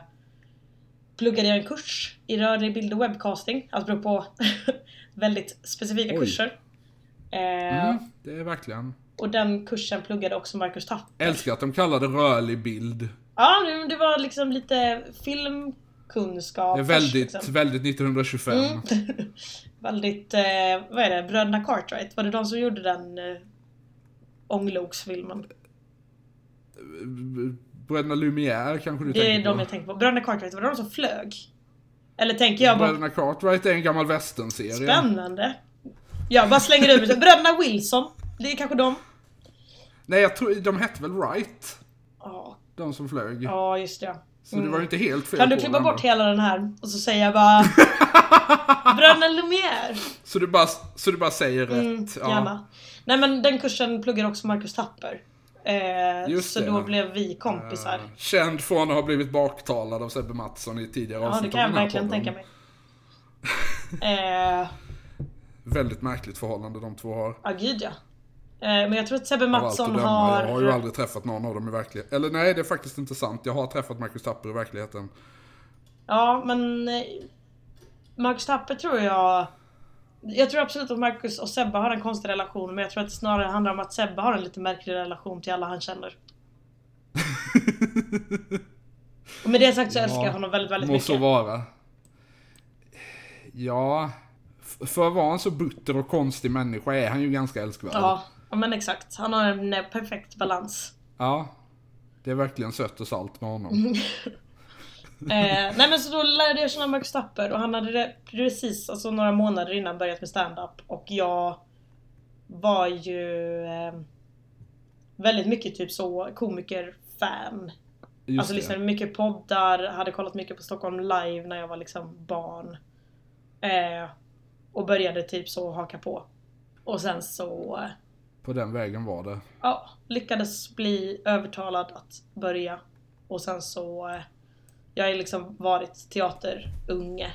pluggade jag en kurs i rörlig bild och webbcasting. Allt beror på väldigt specifika Oj. kurser. Eh, Mm, det är verkligen. Och den kursen pluggade också Marcus Tapper. Älskar att de kallar det rörlig bild. Ja, det- det var liksom lite filmkunskap. Det är först, väldigt, liksom. väldigt 1925. Mm. väldigt, eh, vad är det, Bröderna Cartwright? Var det de som gjorde den eh, ångloksfilmen? Eh, Bröderna Lumière kanske du Det är tänker de på? jag tänker på. Bröderna Cartwright, var det de som flög? Eller tänker jag bara, Bröderna Cartwright är en gammal westernserie. spännande? Jag bara slänger ut det. Bröderna Wilson, det är kanske de? Nej, jag tror, de hette väl Wright? Ja, De som flög. ja just det. Så det var ju inte helt fel Mm. Kan du på klippa den bort då. hela den här och så säger jag bara Bröderna Lumière? Så du bara, så du bara säger rätt. Ja. Mm, Gärna. Nej men den kursen pluggar också Marcus Tapper. Eh, Just så det. då blev vi kompisar. Eh, Känd från att ha blivit baktalad av Sebbe Mattsson i tidigare ja det avsnitt kan av jag den här verkligen podden. tänka mig. Eh, Väldigt märkligt förhållande de två har. ja gud ja. Eh, men jag tror att Sebbe Av allt att Mattsson döma. har... Jag har ju aldrig träffat någon av dem i verkligheten. Eller nej, det är faktiskt inte sant. Jag har träffat Marcus Tapper i verkligheten. Ja men... eh, Marcus Tapper tror jag... Jag tror absolut att Marcus och Sebbe har en konstig relation men jag tror att det snarare handlar om att Sebbe har en lite märklig relation till alla han känner. Och med det sagt så Ja, älskar jag honom väldigt, väldigt Må mycket. så vara. Ja... f- För att vara en så butter och konstig människa är han ju ganska älskvärd. Ja, ja, men exakt. Han har en eh, perfekt balans. Ja. Det är verkligen sött och salt med honom. Eh, nej men så då lärde jag känna Marcus Tapper och han hade re- precis, alltså några månader innan börjat med stand-up och jag var ju eh, väldigt mycket typ så komiker-fan. Just Alltså det. lyssnade mycket poddar, hade kollat mycket på Stockholm live när jag var liksom barn. Eh, och började typ så haka på. Och sen så eh, På den vägen var det. ja, lyckades bli övertalad att börja. Och sen så... eh, Jag har ju liksom varit teaterunge.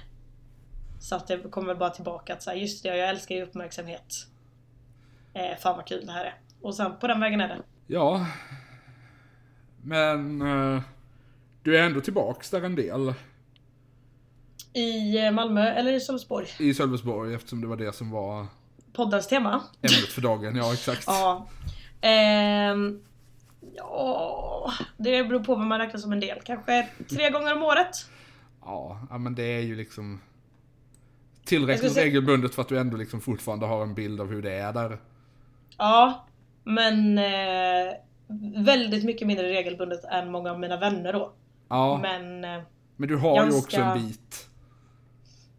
Så att jag kommer bara tillbaka att säga just det, jag älskar ju uppmärksamhet. Eh, fan vad kul det här är. Och sen på den vägen är det. Ja. Men... eh, du är ändå tillbaks där en del. I eh, Malmö eller i Sölvesborg. I Sölvesborg eftersom det var det som var Poddens tema. ämnet för dagen. Ja, exakt. Ja. Ehm, ja. Det beror på vad man räknar som en del. Kanske tre gånger om året. Ja, ja, men det är ju liksom Jag skulle tillräckligt säga- regelbundet för att du ändå liksom fortfarande har en bild av hur det är där. Ja, men eh, väldigt mycket mindre regelbundet än många av mina vänner då. Ja, men, Men, eh, du har ju ganska- också en bit,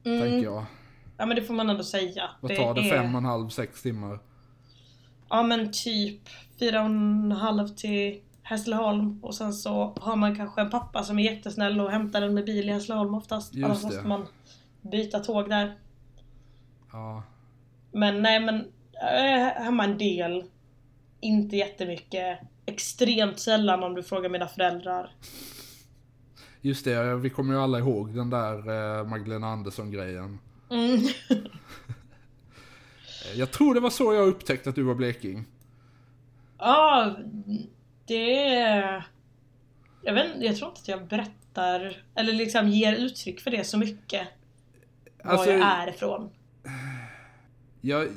tänker mm, jag. ja, men det får man ändå säga. Vad tar det? Fem och en halv, sex timmar? Ja men typ fyra och en halv till Hässleholm och sen så har man kanske en pappa som är jättesnäll och hämtar en med bil i Hässleholm oftast. Just Annars det. måste man byta tåg där. Ja, Men nej men eh, hemma en del. Inte jättemycket. Extremt sällan om du frågar mina föräldrar. just det. Vi kommer ju alla ihåg den där eh, Magdalena Andersson-grejen. Mm. Eh, Jag tror det var så jag upptäckte att du var bleking. Ja, det... Jag, vet, inte, jag tror inte att jag berättar eller liksom ger uttryck för det så mycket. Alltså- var jag är ifrån. Jag eh,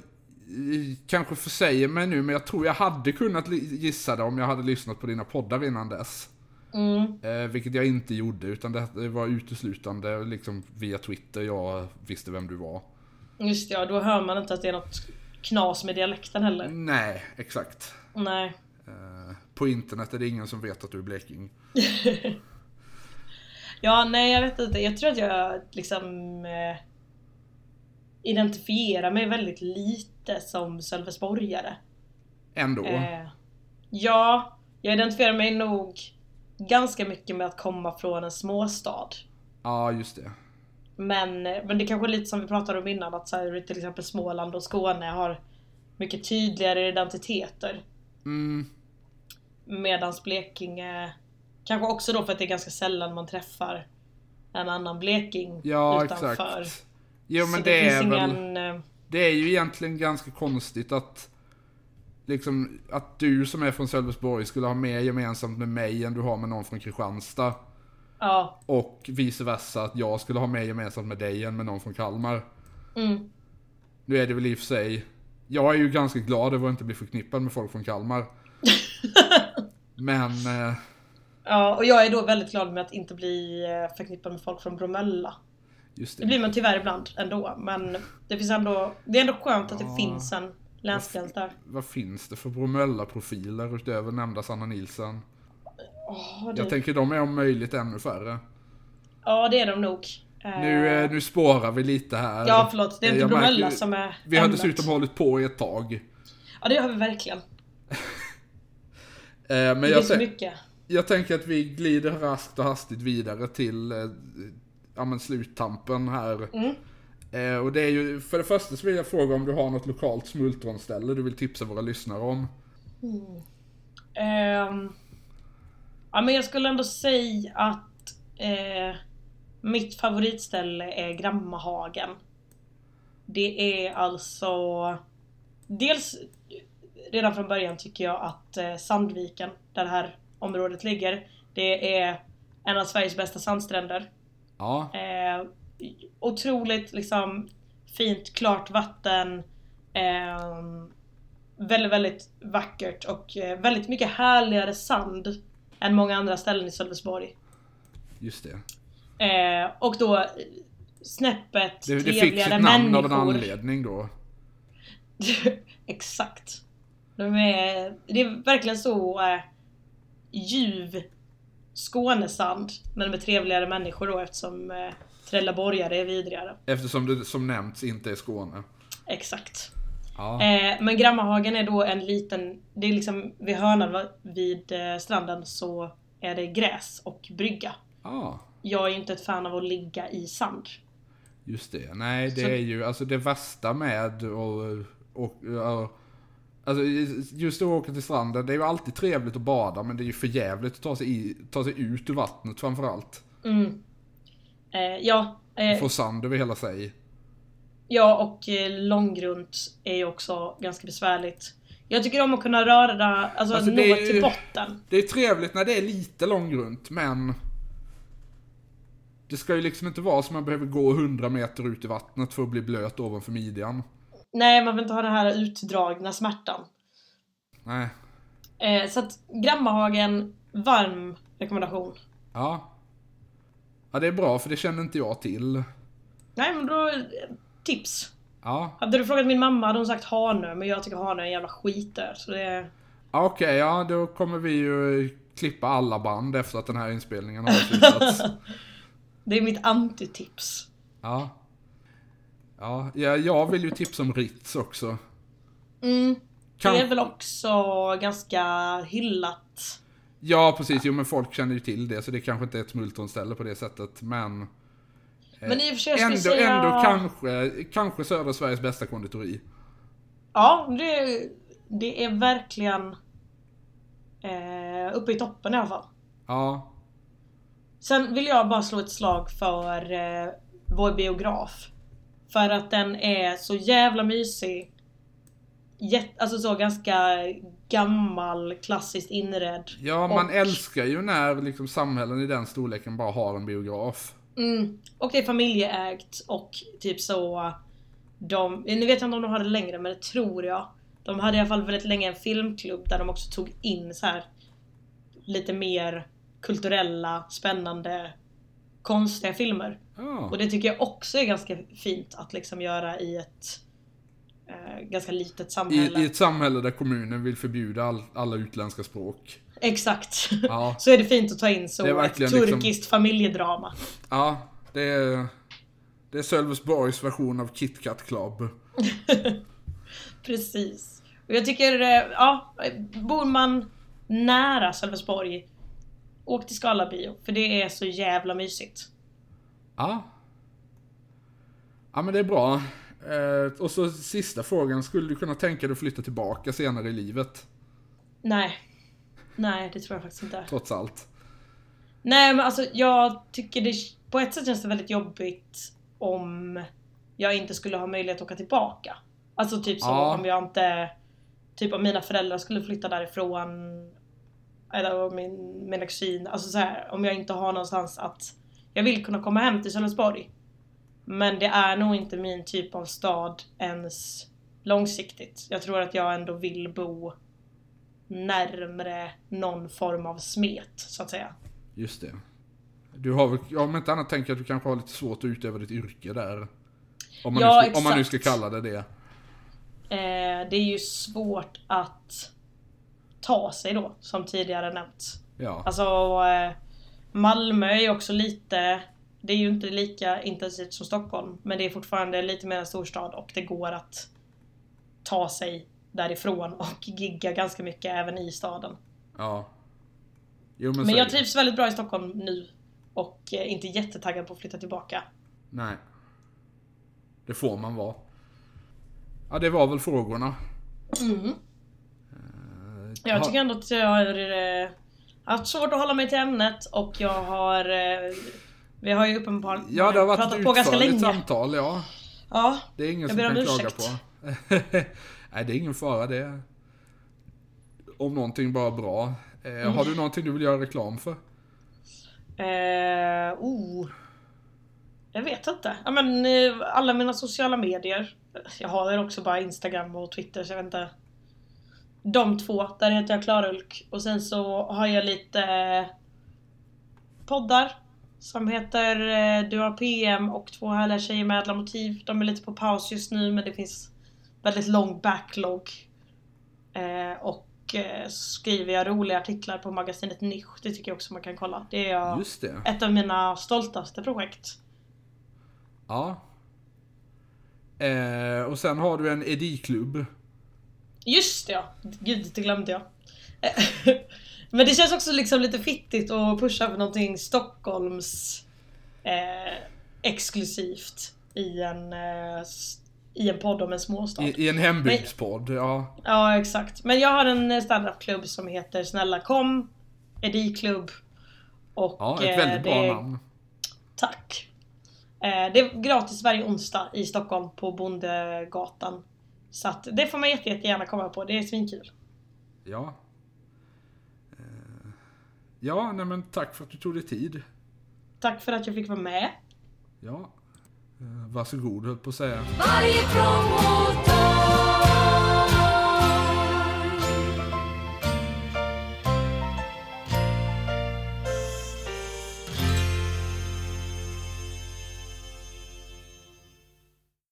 kanske försäger mig nu, men jag tror jag hade kunnat li- gissa det om jag hade lyssnat på dina poddar innan dess. Mm. Eh, vilket jag inte gjorde, utan det det var uteslutande liksom via Twitter jag visste vem du var. Just det, ja, då hör man inte att det är något knas med dialekten heller. Nej, exakt. Nej. Eh, på internet är det ingen som vet att du är bleking. Ja, nej jag vet inte. Jag tror att jag liksom eh, identifierar mig väldigt lite som Sölvesborgare. Ändå. Eh, ja, jag identifierar mig nog ganska mycket med att komma från en småstad. Ja, just det. Men, men det är kanske är lite som vi pratade om innan att så här, till exempel Småland och Skåne har mycket tydligare identiteter. Mm, Medan Blekinge, kanske också då för att det är ganska sällan man träffar en annan bleking ja, utanför. exakt. Jo Så men det är finns väl... ingen... eh, Det är ju egentligen ganska konstigt att liksom att du som är från Sölvesborg skulle ha mer gemensamt med mig än du har med någon från Kristianstad. Ja, Och vice versa att jag skulle ha mer gemensamt med dig än med någon från Kalmar. mm, Nu är det väl i och för sig, jag är ju ganska glad över att inte bli förknippad med folk från Kalmar. Men, eh, ja, och jag är då väldigt glad med att inte bli eh, förknippad med folk från Bromölla. just Det det. blir man tyvärr ibland ändå, men det finns ändå... Det är ändå skönt att det Ah. finns en länsgräns där. Vad finns det för Bromölla-profiler utöver nämnda Sanna Nilsson? Åh, Jag det, tänker de är om möjligt ännu färre. ja, det är de nog. Eh, Nu, eh, nu spårar vi lite här. Ja, förlåt. Det är Eh, inte jag märker- Bromölla som är Vi har ämnet. dessutom hållit på i ett tag. Eh, Ja, det har vi verkligen. Men Det jag, finns så tän- mycket. jag tänker att vi glider raskt och hastigt vidare till eh, ja, men sluttampen här. Mm. Eh, och det är ju, för det första så vill jag fråga om du har något lokalt smultronställe du vill tipsa våra lyssnare om? Ehm, ja, men jag skulle ändå säga att eh, mitt favoritställe är Grammahagen. Det är alltså... Dels redan från början tycker jag att eh, Sandviken, där det här området ligger, det är en av Sveriges bästa sandstränder. Ja. Eh, otroligt liksom fint, klart vatten. Ehm, väldigt, väldigt vackert och eh, väldigt mycket härligare sand än många andra ställen i Sölvesborg. Just det. Eh, och då eh, snäppet Det, det fick sitt trevligare namn av en människor. anledning då. Exakt. De är, det är verkligen så eh, ljuv Skånesand, men med trevligare människor då eftersom eh, Trelleborgare är vidrigare. Eftersom det som nämnts inte är Skåne. Exakt. Ja. Eh, men Grammahagen är då en liten, det är liksom vid hörnan va- vid eh, stranden så är det gräs och brygga. ja. Jag är ju inte ett fan av att ligga i sand. Just det. Nej, det Så- är ju alltså det värsta med och, och, och Alltså just att åka till stranden, det är ju alltid trevligt att bada men det är ju för jävligt att ta sig, i, ta sig ut ur vattnet framförallt. Mm. Eh, ja, eh, Få sand över hela sig. ja, och eh, långgrunt är ju också ganska besvärligt. Jag tycker om att kunna röra, alltså, Alltså, nå det är ju- till botten. Det är trevligt när det är lite långgrunt men det ska ju liksom inte vara så man behöver gå 100 meter ut i vattnet för att bli blöt ovanför midjan. Nej, man vill inte ha den här utdragna smärtan. Nej. Eh, så att Grammahagen, varm rekommendation. Ja. Ja det är bra för det känner inte jag till. Nej, men då eh, tips. Ja. Hade du frågat min mamma hade hon sagt Hanö, men jag tycker Hanö är en jävla skitö. Så det... Ja, Okej, ja då kommer vi ju klippa alla band efter att den här inspelningen har avslutats. det är mitt antitips. ja. Ja, ja, jag vill ju tipsa om Ritz också. Mm. Kan- Det är väl också ganska hyllat. Ja, precis. Jo, men folk känner ju till det, så det kanske inte är ett smultronställe på det sättet, men... eh, Men i och för sig jag skulle ändå, säga... ändå kanske, kanske södra Sveriges bästa konditori. Ja, det, det är verkligen eh, uppe i toppen i alla fall. Ja, Sen vill jag bara slå ett slag för eh, vår biograf. För att den är så jävla mysig. Jätt, alltså så ganska gammal, klassiskt inredd. ja man Och- älskar ju när liksom samhällen i den storleken bara har en biograf. Mm. Och det är familjeägt och typ så... De, nu vet jag inte om de har det längre men det tror jag. De hade i alla fall väldigt länge en filmklubb där de också tog in så här lite mer kulturella, spännande, konstiga filmer. Ja, Och det tycker jag också är ganska fint att liksom göra i ett eh, ganska litet samhälle. I, I ett samhälle där kommunen vill förbjuda all, alla utländska språk. Exakt. Ja. så är det fint att ta in Det är så ett verkligen turkiskt liksom- familjedrama. Ja, det är, det är Sölvesborgs version av KitKat Club. Precis. Och jag tycker, eh, ja, bor man nära Sölvesborg, åk till Skala bio. För det är så jävla mysigt. Ja. Ja men det är bra. Eh, och så sista frågan, skulle du kunna tänka dig att flytta tillbaka senare i livet? Nej. Nej, det tror jag faktiskt inte. Trots allt. Nej men alltså jag tycker det, på ett sätt känns det väldigt jobbigt om jag inte skulle ha möjlighet att åka tillbaka. Alltså typ så Ja. om jag inte, typ om mina föräldrar skulle flytta därifrån, eller om min, mina kusin, alltså så här, om jag inte har någonstans att, jag vill kunna komma hem till Sölvesborg. Men det är nog inte min typ av stad ens långsiktigt. Jag tror att jag ändå vill bo närmre någon form av smet så att säga. Just det. Du har väl, ja, om inte annat tänker jag att du kanske har lite svårt att utöva ditt yrke där. Om man, Ja, nu, ska, om man nu ska exakt. kalla det det. Eh, det är ju svårt att ta sig då, som tidigare nämnts. Ja. Alltså eh, Malmö är ju också lite, det är ju inte lika intensivt som Stockholm, men det är fortfarande lite mer en storstad och det går att ta sig därifrån och gigga ganska mycket även i staden. ja. Jo, men, Men, så är jag det. trivs väldigt bra i Stockholm nu och eh, inte jättetaggad på att flytta tillbaka. Nej. Det får man vara. Ja, det var väl frågorna. Jag Eh, Ha- tycker ändå att jag har eh, haft svårt att hålla mig till ämnet och jag har... eh, Vi har ju uppenbarligen Ja, det har varit pratat ett på ganska utförligt länge. samtal, ja. Ja, Det är ingen Jag som ber kan om klaga ursäkt. på. Nej, det är ingen fara det. Om någonting bara bra. Eh, Har Mm. du någonting du vill göra reklam för? Eh, oh. Jag vet inte. Ja, men, eh, alla mina sociala medier. Jag har ju också bara Instagram och Twitter så jag vet inte. De två, där heter jag Klarulk. Och sen så har jag lite eh, poddar. Som heter eh, Du har PM och Två härliga tjejer med ädla motiv. De är lite på paus just nu men det finns väldigt lång backlog. Eh, och eh, så skriver jag roliga artiklar på magasinet Nisch. Det tycker jag också man kan kolla. Det är jag Just det. ett av mina stoltaste projekt. Ja. Eh, och sen har du en ediklubb. Just det, ja, gud det glömde jag. Eh, Men det känns också liksom lite fittigt att pusha för någonting Stockholms eh, exklusivt i en, eh, s- i en podd om en småstad. I, I en hembygdspodd, ja. Ja exakt. Men jag har en eh, standupklubb som heter Snälla kom, Ediklubb. Och Ja, ett eh, väldigt bra det är- namn. Tack. Eh, Det är gratis varje onsdag i Stockholm på Bondegatan. Så att det får man jätte, jättegärna komma på, det är svinkul. Ja. Eh, Ja, nej men tack för att du tog dig tid. Tack för att jag fick vara med. Ja. Eh, Varsågod höll på att säga. Varje promotor